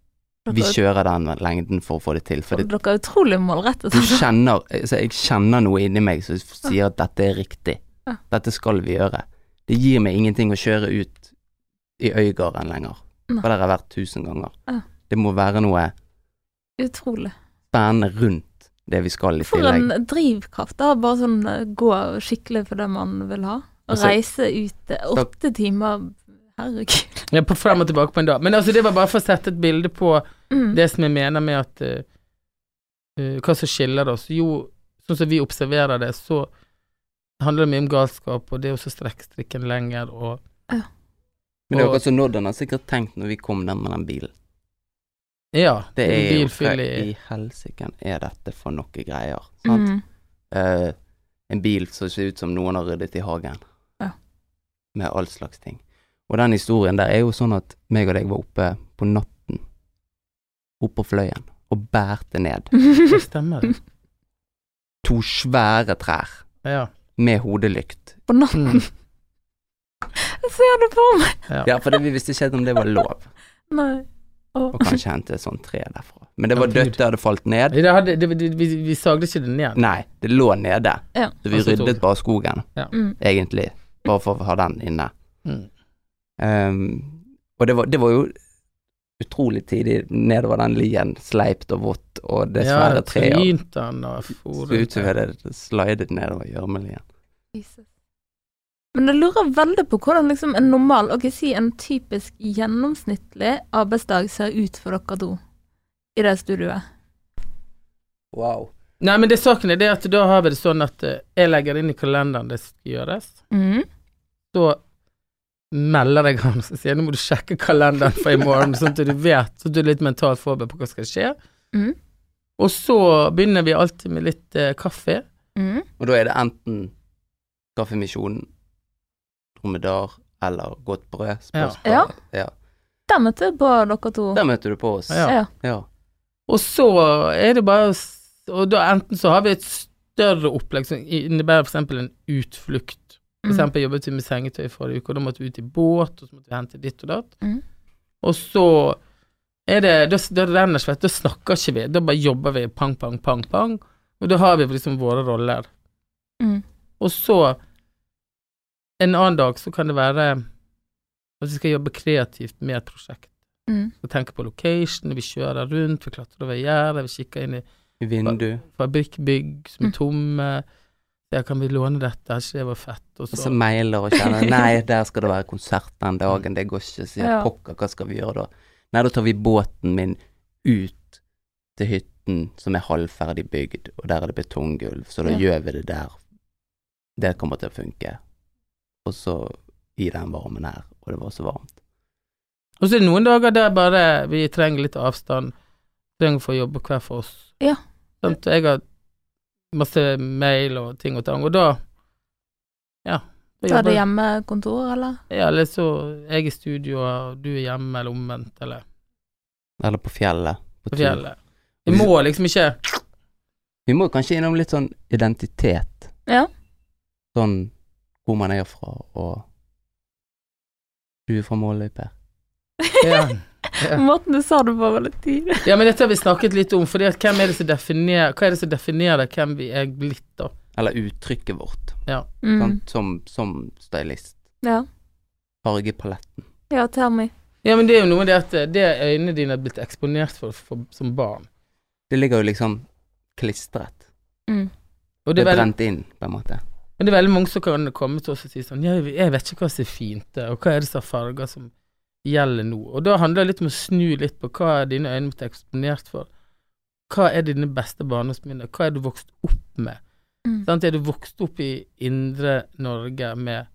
vi
Dere-
kjører den lengden for å få det til. For det,
Dere er utrolig målrettet.
du kjenner altså Jeg kjenner noe inni meg som sier at dette er riktig.
Ja.
Dette skal vi gjøre. Det gir meg ingenting å kjøre ut i Øygarden lenger.
Nei.
For der har jeg vært tusen ganger.
Ja.
Det må være noe
[LAUGHS] Utrolig.
spennende rundt det vi skal i
For
tillegg.
en drivkraft. Det er bare sånn eh, gå skikkelig for det man vil ha. Og
Altså-
reise ut eh, åtte timer.
[LAUGHS]
Herregud.
Ja, på frem og tilbake på en dag. Men altså, det var bare for å sette et bilde på
Mm.
det som jeg mener med at eh, eh, Hva som skiller oss? Jo, sånn som vi observerer det, så handler det mye om galskap, og det å så strekke strikken lenger, og
Men det er
og-
akkurat som Nodden har sikkert tenkt når vi kom ned med den bilen.
Ja.
Det
en
er jo
bilfyll
hva
i-
i helsike er dette for noe greier? Sant?
Mm.
Eh, en bil som ser ut som noen har ryddet i hagen.
Ja.
Med all slags ting. Og den historien der er jo sånn at meg og deg var oppe på natten, oppe på fløyen, og bærte ned
Det
Mm.
stemmer. det.
to svære trær
Ja.
med hodelykt.
[LAUGHS] På natten.
Mm.
Jeg ser det på meg.
Ja, for det, vi visste ikke helt om det var lov
Nei.
å
Å.
kanskje hente et sånt tre derfra. Men det var
Ja, Gud.
dødt, det hadde falt ned.
Det hadde, det, det, vi, vi sagde ikke den igjen.
Nei, det lå nede.
Ja. Altså,
Så vi
Og så tok-
ryddet bare skogen,
Mm.
egentlig. Bare for å ha den inne.
Mm.
Um, og det var, det var jo utrolig tidlig nedover den lien, sleipt og vått, og det svære
ja,
treet
trynt han og
så
foret.
ut som vi hadde slidet nedover gjørmelien.
Jesus. Men jeg lurer veldig på hvordan liksom en normal, ok, si en typisk gjennomsnittlig arbeidsdag ser ut for dere to i det studioet.
Wow.
Nei, men det saken er det at da har vi det sånn at eh, jeg legger inn i kalenderen det skal gjøres,
Mm.
så melder jeg han og sier nå må du sjekke kalenderen for i morgen, sånn at du vet, så du er litt mentalt forberedt på hva som skal skje.
Mm.
Og så begynner vi alltid med litt eh, kaffe.
Mm.
Og da er det enten Kaffemisjonen, dromedar eller Godt brød. spørs hva-
Ja.
ja.
Der møtte jeg på dere to.
Der møter du på oss.
Ja.
Ja.
Ja.
Og så er det bare å s- Og da enten så har vi et større opplegg som innebærer f.eks. en utflukt. For
Mm.
eksempel jeg jobbet vi med sengetøy forrige uke, og da måtte vi ut i båt, og så måtte vi hente ditt og datt.
Mhm.
Og så er det, da, da renner svett, da snakker ikke vi, da bare jobber vi pang, pang, pang, pang, og da har vi liksom våre roller.
Mm.
Og så, en annen dag så kan det være at vi skal jobbe kreativt med et prosjekt.
Mm.
Vi tenker på location, vi kjører rundt, vi klatrer over gjerdet, vi kikker inn i
Vindu.
fabrikkbygg som
Mm.
er tomme, der kan vi låne dette, har ikke det var fett, og
Og
så...
så mailer og kjenner Nei, der skal det være konsert den dagen, det går ikke. Sier
Ja.
pokker, hva skal vi gjøre da? Nei, da tar vi båten min ut til hytten som er halvferdig bygd, og der er det betonggulv, så da
Ja.
gjør vi det der. Det kommer til å funke. Og så i den varmen her, og det var så varmt.
Og så er det noen dager der bare vi trenger litt avstand, trenger å få jobbe hver for oss.
Ja.
Sånn, så jeg har masse mail og ting og tang, og da ja. da
Da er det
jobber-
hjemmekontor, eller?
Ja, eller så jeg er i studio, og du er hjemme, eller omvendt, eller
Eller på fjellet.
på
tur.
fjellet. Vi må liksom ikke
Vi må kanskje innom litt sånn identitet.
Ja.
Sånn hvor man er fra, og Du er fra Måløy, Per.
ja.
Måten du sa det på, var litt tidlig.
ja, men dette har vi snakket litt om, for hvem er det som definerer Hva er det som definerer hvem vi er blitt, da?
Eller uttrykket vårt,
Mm.
Sånn.
sant? Som, som stylist.
Ja.
Fargepaletten.
ja, tell me.
Ja, men det er jo noe med det at eh, det øynene dine er blitt eksponert for, for som barn.
Det ligger jo liksom klistret.
Mm.
Det
Og det
er
er veldig,
brent inn, på en måte.
men det er veldig mange som kan komme til oss og si sånn jeg, jeg vet ikke hva som er fint, eh, og hva er det som er farger som gjelder nå? Og da handler det litt om å snu litt på hva er dine øyne blitt eksponert for. Hva er dine beste barndomsminner? Hva er du vokst opp med?
Mm.
Sant? Er du vokst opp i indre Norge med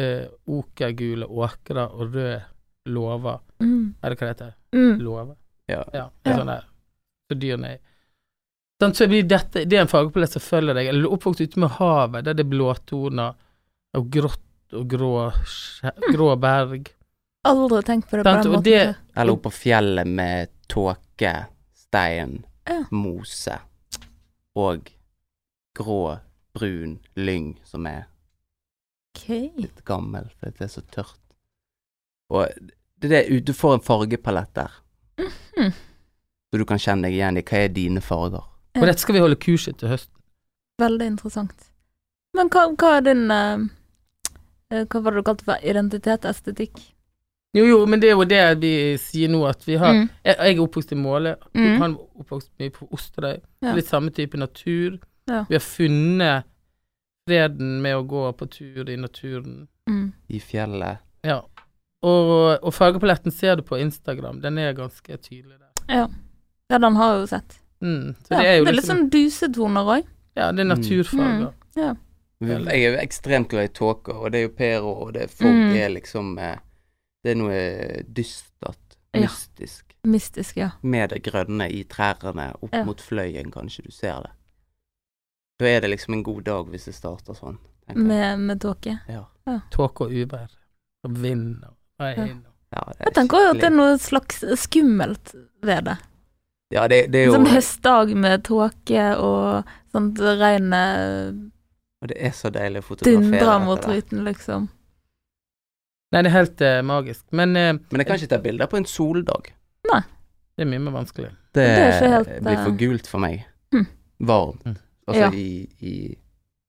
eh, okergule åkre og røde låver?
Mm.
Er det hva det heter?
Mm.
Låver?
Ja.
Ja,
Ja.
sånn der. Så dyrene er Sånn, så blir dette, Det er en fagpalett som følger deg. Eller du er oppvokst ute med havet, der det er blåtoner og grått og grå, skje- grå berg.
Aldri tenkt på det på den
Sant, Sånn, og
måten.
det-
før.
Eller opp på fjellet med tåke, stein,
Ja.
mose og grå, brun lyng som er
Ok.
litt gammel, for det er så tørt. Og det er det, du får en fargepalett der,
Mhm.
så du kan kjenne deg igjen i hva er dine farger.
Ja.
Og dette skal vi holde kurset til høsten.
Veldig interessant. Men hva, hva er din eh, eh, Hva var det du kalte for identitet, estetikk?
Jo, jo, men det er jo det vi sier nå, at vi har
Mm.
Jeg, jeg er oppvokst i Måle,
Mm.
han var oppvokst mye på Osterøy.
Ja.
Litt samme type natur.
Ja.
Vi har funnet freden med å gå på tur i naturen.
Mm.
I fjellet
Ja. Og, og fargepaletten ser du på Instagram, den er ganske tydelig der.
Ja, den har jeg jo sett.
Mm. Så
Ja,
det er jo
litt
liksom
sånn dusetoner òg.
Ja, det er
Mm.
naturfarger.
Jeg
Eller-
er jo ekstremt glad i tåke, og det er jo pero, og det er folk
Mm.
er liksom eh, Det er noe dystert,
Ja.
mystisk,
Mystisk, ja.
med det grønne i trærne opp
Ja.
mot fløyen, kanskje du ser det. Da er det liksom en god dag hvis det starter sånn. tenker jeg.
Med, med tåke.
ja.
Tåke og uvær. Og vind og regn.
Ja, det er
Jeg tenker jo at
skikkelig-
det er noe slags skummelt ved det.
Ja, det, det er jo
Som høstdag med tåke og sånt regnet
Og det er så deilig å fotografere
dundrer
dette
mot
der.
ruten, liksom.
Nei, det er helt eh, magisk. Men eh,
Men jeg kan ikke ta bilder på en soldag.
det er mye mer vanskelig.
Det,
er ikke helt,
blir
eh,
for gult for meg.
Hm.
Varmt,
Mm.
altså
Ja.
i,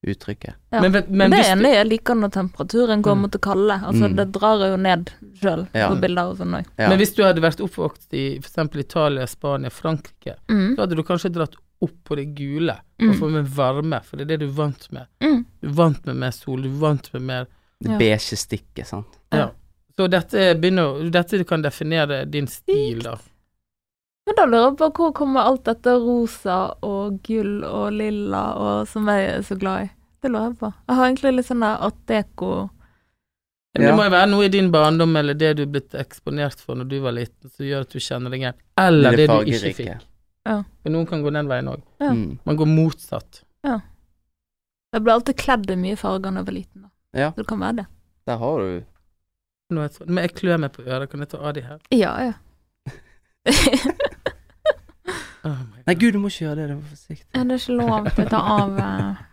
i uttrykket.
Ja.
Men, vet- men
Men det
hvis
er
du-
enig, jeg liker når temperaturen går
Mm.
mot det kalde. Altså,
Mm.
det drar jo ned sjøl
Ja.
på bilder og sånn òg.
Ja.
Men hvis du hadde vært oppvokst i f.eks. Italia, Spania, Frankrike,
Mm.
så hadde du kanskje dratt opp på det gule
Mm.
og fått med varme, for det er det du er vant med.
Mm.
Du er vant med mer sol, du er vant med mer
Det
Ja.
beige stikket, sant.
Ja.
Ja. Så dette, begynner, dette kan definere din stil, da.
Men da lurer jeg på hvor kommer alt dette rosa og gull og lilla og som jeg er så glad i? Det lurer jeg på. Jeg har egentlig litt sånn der art deco
Men
Ja.
Det må jo være noe i din barndom eller det du er blitt eksponert for når du var liten, som gjør at du kjenner deg igjen. Eller det, du ikke fikk. For noen kan gå den veien òg.
Ja.
Mm.
Man går motsatt.
Jeg ble alltid kledd i mye farger da jeg var liten. da.
Ja.
Så det kan være det.
Der har du
Nå er det sånn, Men jeg klør meg på øret, kan jeg ta av de her?
Ja, ja.
Oh my God.
Nei, gud, du må ikke gjøre det. Det var forsiktig.
Ja, det er ikke lov til å ta av
[LAUGHS]
eh.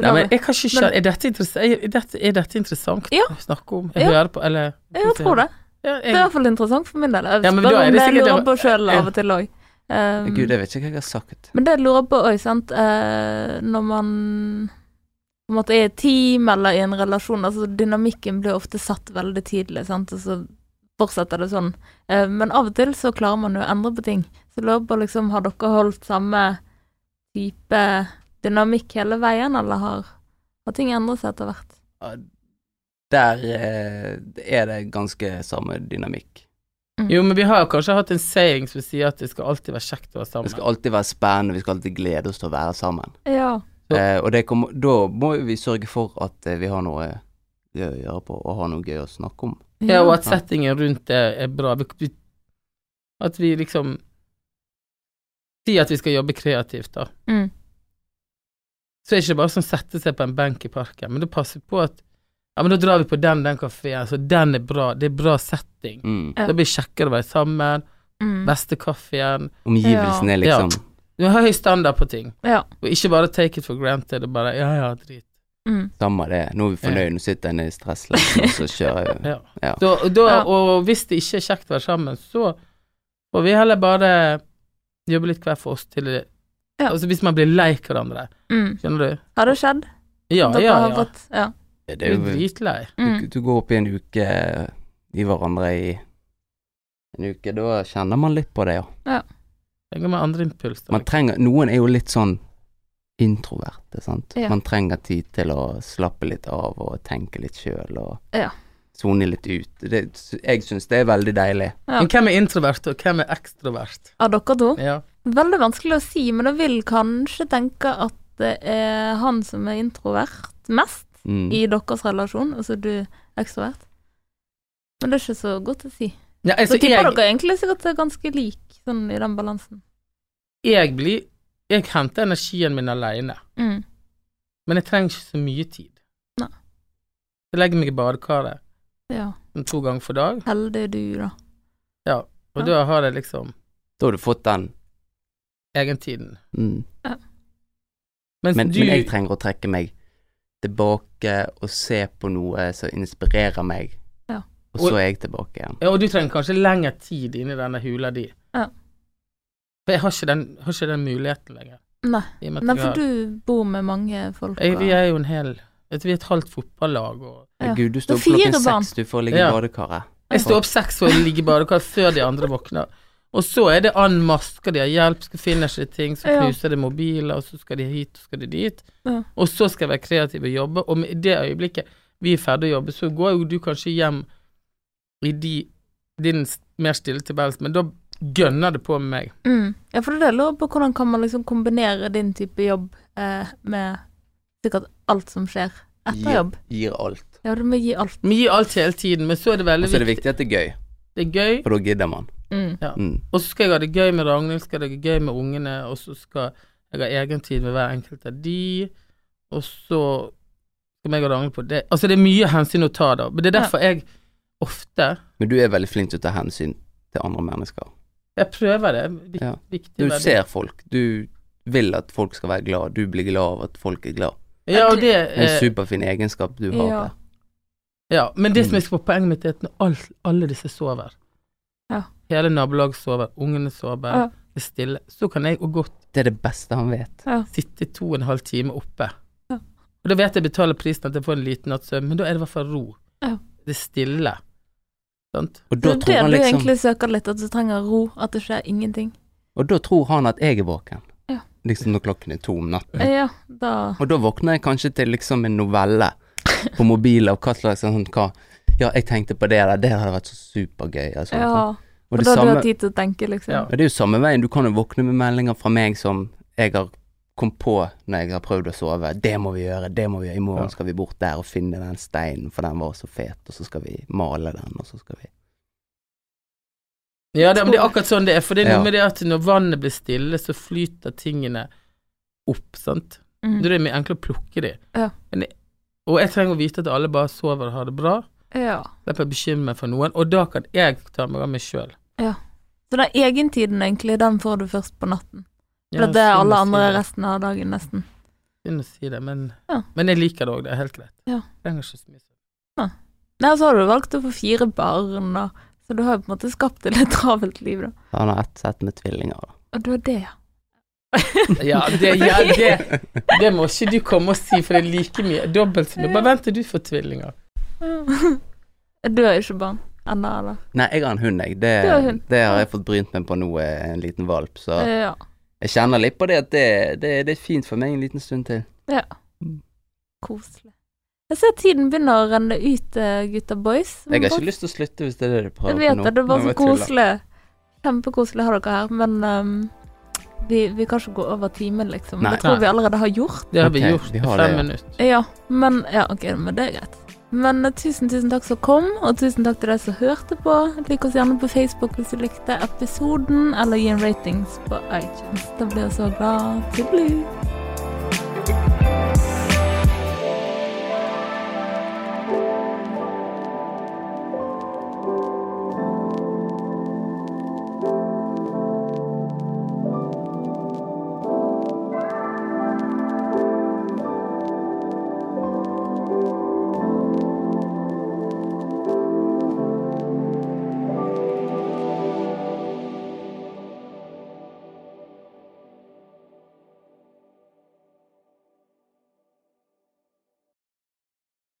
Nei, men jeg kan ikke
Men-
kjenne Er dette, interess- er dette, er dette interessant
Ja.
å snakke om?
Ja.
Jeg hører på, eller
Jeg tror det. Det
Ja,
er i
jeg,
hvert fall interessant for min del. Jeg
Ja, men da
spør
er
om
det
det jeg
sikkert-
lurer på sjøl
Ja.
av og til òg. Um,
Gud, jeg vet ikke hva jeg har sagt.
men det jeg lurer på òg, sant eh, Når man på en måte er i et team eller i en relasjon altså Dynamikken blir ofte satt veldig tidlig, sant, og så fortsetter det sånn. Eh, men av og til så klarer man jo å endre på ting. Så jeg lurer på liksom, har dere holdt samme type dynamikk hele veien, eller har, har ting endret seg etter hvert?
Der eh, er det ganske samme dynamikk.
Mm.
jo, men vi har kanskje hatt en saying som sier at det skal alltid være kjekt å være
Det
sammen.
skal alltid være spennende, vi skal alltid glede oss til å være sammen.
Ja.
Ja.
Eh, og det kommer, da må jo vi sørge for at eh, vi har noe gøy å gjøre på, og har noe gøy å snakke om.
Ja, og at settingen rundt det er bra. Vi- vi- At vi liksom sier at vi skal jobbe kreativt, da.
Mm.
Så er det ikke bare sånn sette seg på en benk i parken, men du passer på at Ja, men da drar vi på den, den kafeen, så den er bra. Det er bra setting.
Mm.
Ja.
Da blir det kjekkere å være sammen.
Mm.
Beste kaffen.
Omgivelsene er liksom
Du har høy standard på ting,
Ja.
og ikke bare take it for granted og bare ja, ja, drit.
Mm.
Samme det, nå er vi fornøyd, nå sitter en i stressløsning, og så kjører vi.
Ja.
Ja.
Da, da,
Ja.
Og hvis det ikke er kjekt å være sammen, så får vi heller bare jobbe litt hver for oss til det
Ja.
Altså hvis man blir lei hverandre,
Mm.
skjønner du?
Har det skjedd?
Ja,
Dere
ja,
har
ja.
fått Ja.
[LAUGHS] Det
Du
er
er
jo
dritlei.
du,
Mm.
du går opp i en uke eh, i hverandre i en uke. Da kjenner man litt på det, ja.
Trenger man andre impulser.
Man trenger, noen er jo litt sånn introverte, sant.
Ja.
Man trenger tid til å slappe litt av og tenke litt sjøl og
Ja.
sone litt ut. Det, jeg syns det er veldig deilig.
Ja.
Men hvem er introvert, og hvem er ekstrovert?
Av dere to?
Ja.
Veldig vanskelig å si, men jeg vil kanskje tenke at det er han som er introvert mest
Mm.
i deres relasjon, altså du er ekstrovert. Men det er ikke så godt å si.
Ja,
Så
altså,
tipper
jeg,
dere egentlig sikkert er ganske lik sånn i den balansen.
jeg blir Jeg henter energien min alene,
Mm.
men jeg trenger ikke så mye tid.
Nei.
Jeg legger meg i badekaret
Ja.
sånn to ganger for dag,
Heldig du, da.
og
Ja.
da har jeg liksom
Da har du fått den.
egentiden.
Mm.
Altså,
Mens
Men,
du
men jeg trenger å trekke meg tilbake og se på noe som inspirerer meg,
Ja.
og så er jeg tilbake igjen.
Ja, og du trenger kanskje lengre tid inni denne hula di.
Ja.
For jeg har ikke den, har ikke den muligheten lenger.
Nei.
I og med at
Nei,
jeg
for
har-
du bor med mange folk.
jeg, Vi
og-
er jo en hel vet du, Vi er et halvt fotballag og
Ja.
Gud, du står
Det
opp
er fire
klokken
barn.
seks, du får ligge
Ja.
i badekaret.
Jeg står opp seks for å ligge i badekar før de andre våkner. Og så er det an masker, de har hjelp, skal finishe ting, så
Ja.
knuser de mobiler, og så skal de hit, og skal de dit.
Ja.
Og så skal jeg være kreativ og jobbe, og i det øyeblikket vi er ferdig å jobbe, så går jo du kanskje hjem i de, din s- mer stille tilværelse, men da gønner det på med meg.
Mm. Ja, for det er det jeg lurer på hvordan kan man liksom kombinere din type jobb eh, med sikkert alt som skjer etter jobb.
Gir alt.
Ja, du må gi alt.
Vi gir alt hele tiden, men så er det
Og
veldig
så er det
viktig.
viktig at det er gøy,
Det er gøy,
for da gidder man.
Mm.
Mm.
og så skal jeg ha det gøy med Ragnhild, skal jeg ha det gøy med ungene, og så skal jeg ha egen tid med hver enkelt av de, og så skal jeg og Ragnhild på det. Altså det er mye hensyn å ta da, men det er derfor jeg ofte,
Men du er veldig flink til å ta hensyn til andre mennesker.
jeg prøver det, vik,
Ja.
viktig
Du
verdi.
ser folk. Du vil at folk skal være glad. Du blir glad av at folk er glad.
Ja, og det
Det er en
er,
superfin egenskap du har.
Eh, Ja.
Per.
ja, men det som
Mm.
jeg skal få poenget mitt er at når alt, alle disse sover,
Ja.
hele nabolaget sover, ungene sover,
Ja.
det er stille, så kan jeg og godt
Det er det beste han vet.
sitte to og en halv time oppe.
Ja.
Og da vet jeg betaler prisen at jeg får en liten natts søvn, men da er det i hvert fall ro.
Ja.
Det er stille. Sant?
Og
Det
da
er
tror
det
han
du
liksom
egentlig søker litt, at du trenger ro, at det skjer ingenting.
Og da tror han at jeg er våken.
Ja.
Liksom når klokken er to om natten.
Ja, da
Og da våkner jeg kanskje til liksom en novelle på mobil av hva slags sånn hva Ja, jeg tenkte på det der, det hadde vært så supergøy. Og, sånt.
Ja.
og
Og
det
da du
samme
har tid til å tenke, liksom.
Ja.
Ja, det er jo samme veien. Du kan jo våkne med meldinger fra meg som jeg har kom på når jeg har prøvd å sove. 'Det må vi gjøre, det må vi gjøre. I morgen
Ja.
skal vi bort der og finne den steinen, for den var så fet, og så skal vi male den, og så skal vi
Ja, det, men det er akkurat sånn det er. For det er noe
Ja.
med det at når vannet blir stille, så flyter tingene opp, sant. Da
Mm.
er det mye enklere å plukke de.
Ja.
Men jeg- og jeg trenger å vite at alle bare sover og har det bra.
ja.
Slipper å bekymre meg for noen. Og da kan jeg ta meg av meg sjøl.
Så den egentiden, egentlig, den får du først på natten. For det er alle andre resten av dagen, nesten.
Synd å si det, men,
Ja.
men jeg liker det òg. Det er helt greit.
Ja.
Trenger ikke så mye.
Nei, så har du valgt å få fire barn, da. Så du har jo på en måte skapt et litt travelt liv, da.
Han har ett sett med tvillinger, da.
Og det var det, ja.
Ja, det, ja det, det må ikke du komme og si, for det er like mye. Dobbelt så mye. Bare vent til du får tvillinger.
[LAUGHS] Du har jo ikke barn ennå, eller?
Nei, jeg har en hund, jeg. Det,
Du har hund.
det har jeg fått brynt meg på nå, eh, en liten valp. Så
Ja.
jeg kjenner litt på det at det, det, det er fint for meg en liten stund til.
Koselig. Jeg ser tiden begynner å renne ut, eh, gutta boys.
Jeg har ikke lyst til å slutte hvis det er det du prøver
Jeg
på nå.
vet det, det var
Nå
så
jeg tuller.
koselig. Kjempekoselig å ha dere her, men ehm, vi, vi kan ikke gå over timen, liksom.
Nei.
Det tror
Nei.
vi allerede har gjort.
Det har vi
Ok,
gjort
vi
i
har
fem
det, ja.
minutter.
Ja, men Ja, OK, men det er greit. Men eh, tusen, tusen takk som kom, og tusen takk til deg som hørte på. Lik oss gjerne på Facebook hvis du likte episoden, eller gi en ratings på iTunes. Da blir jeg så glad. Tudelu!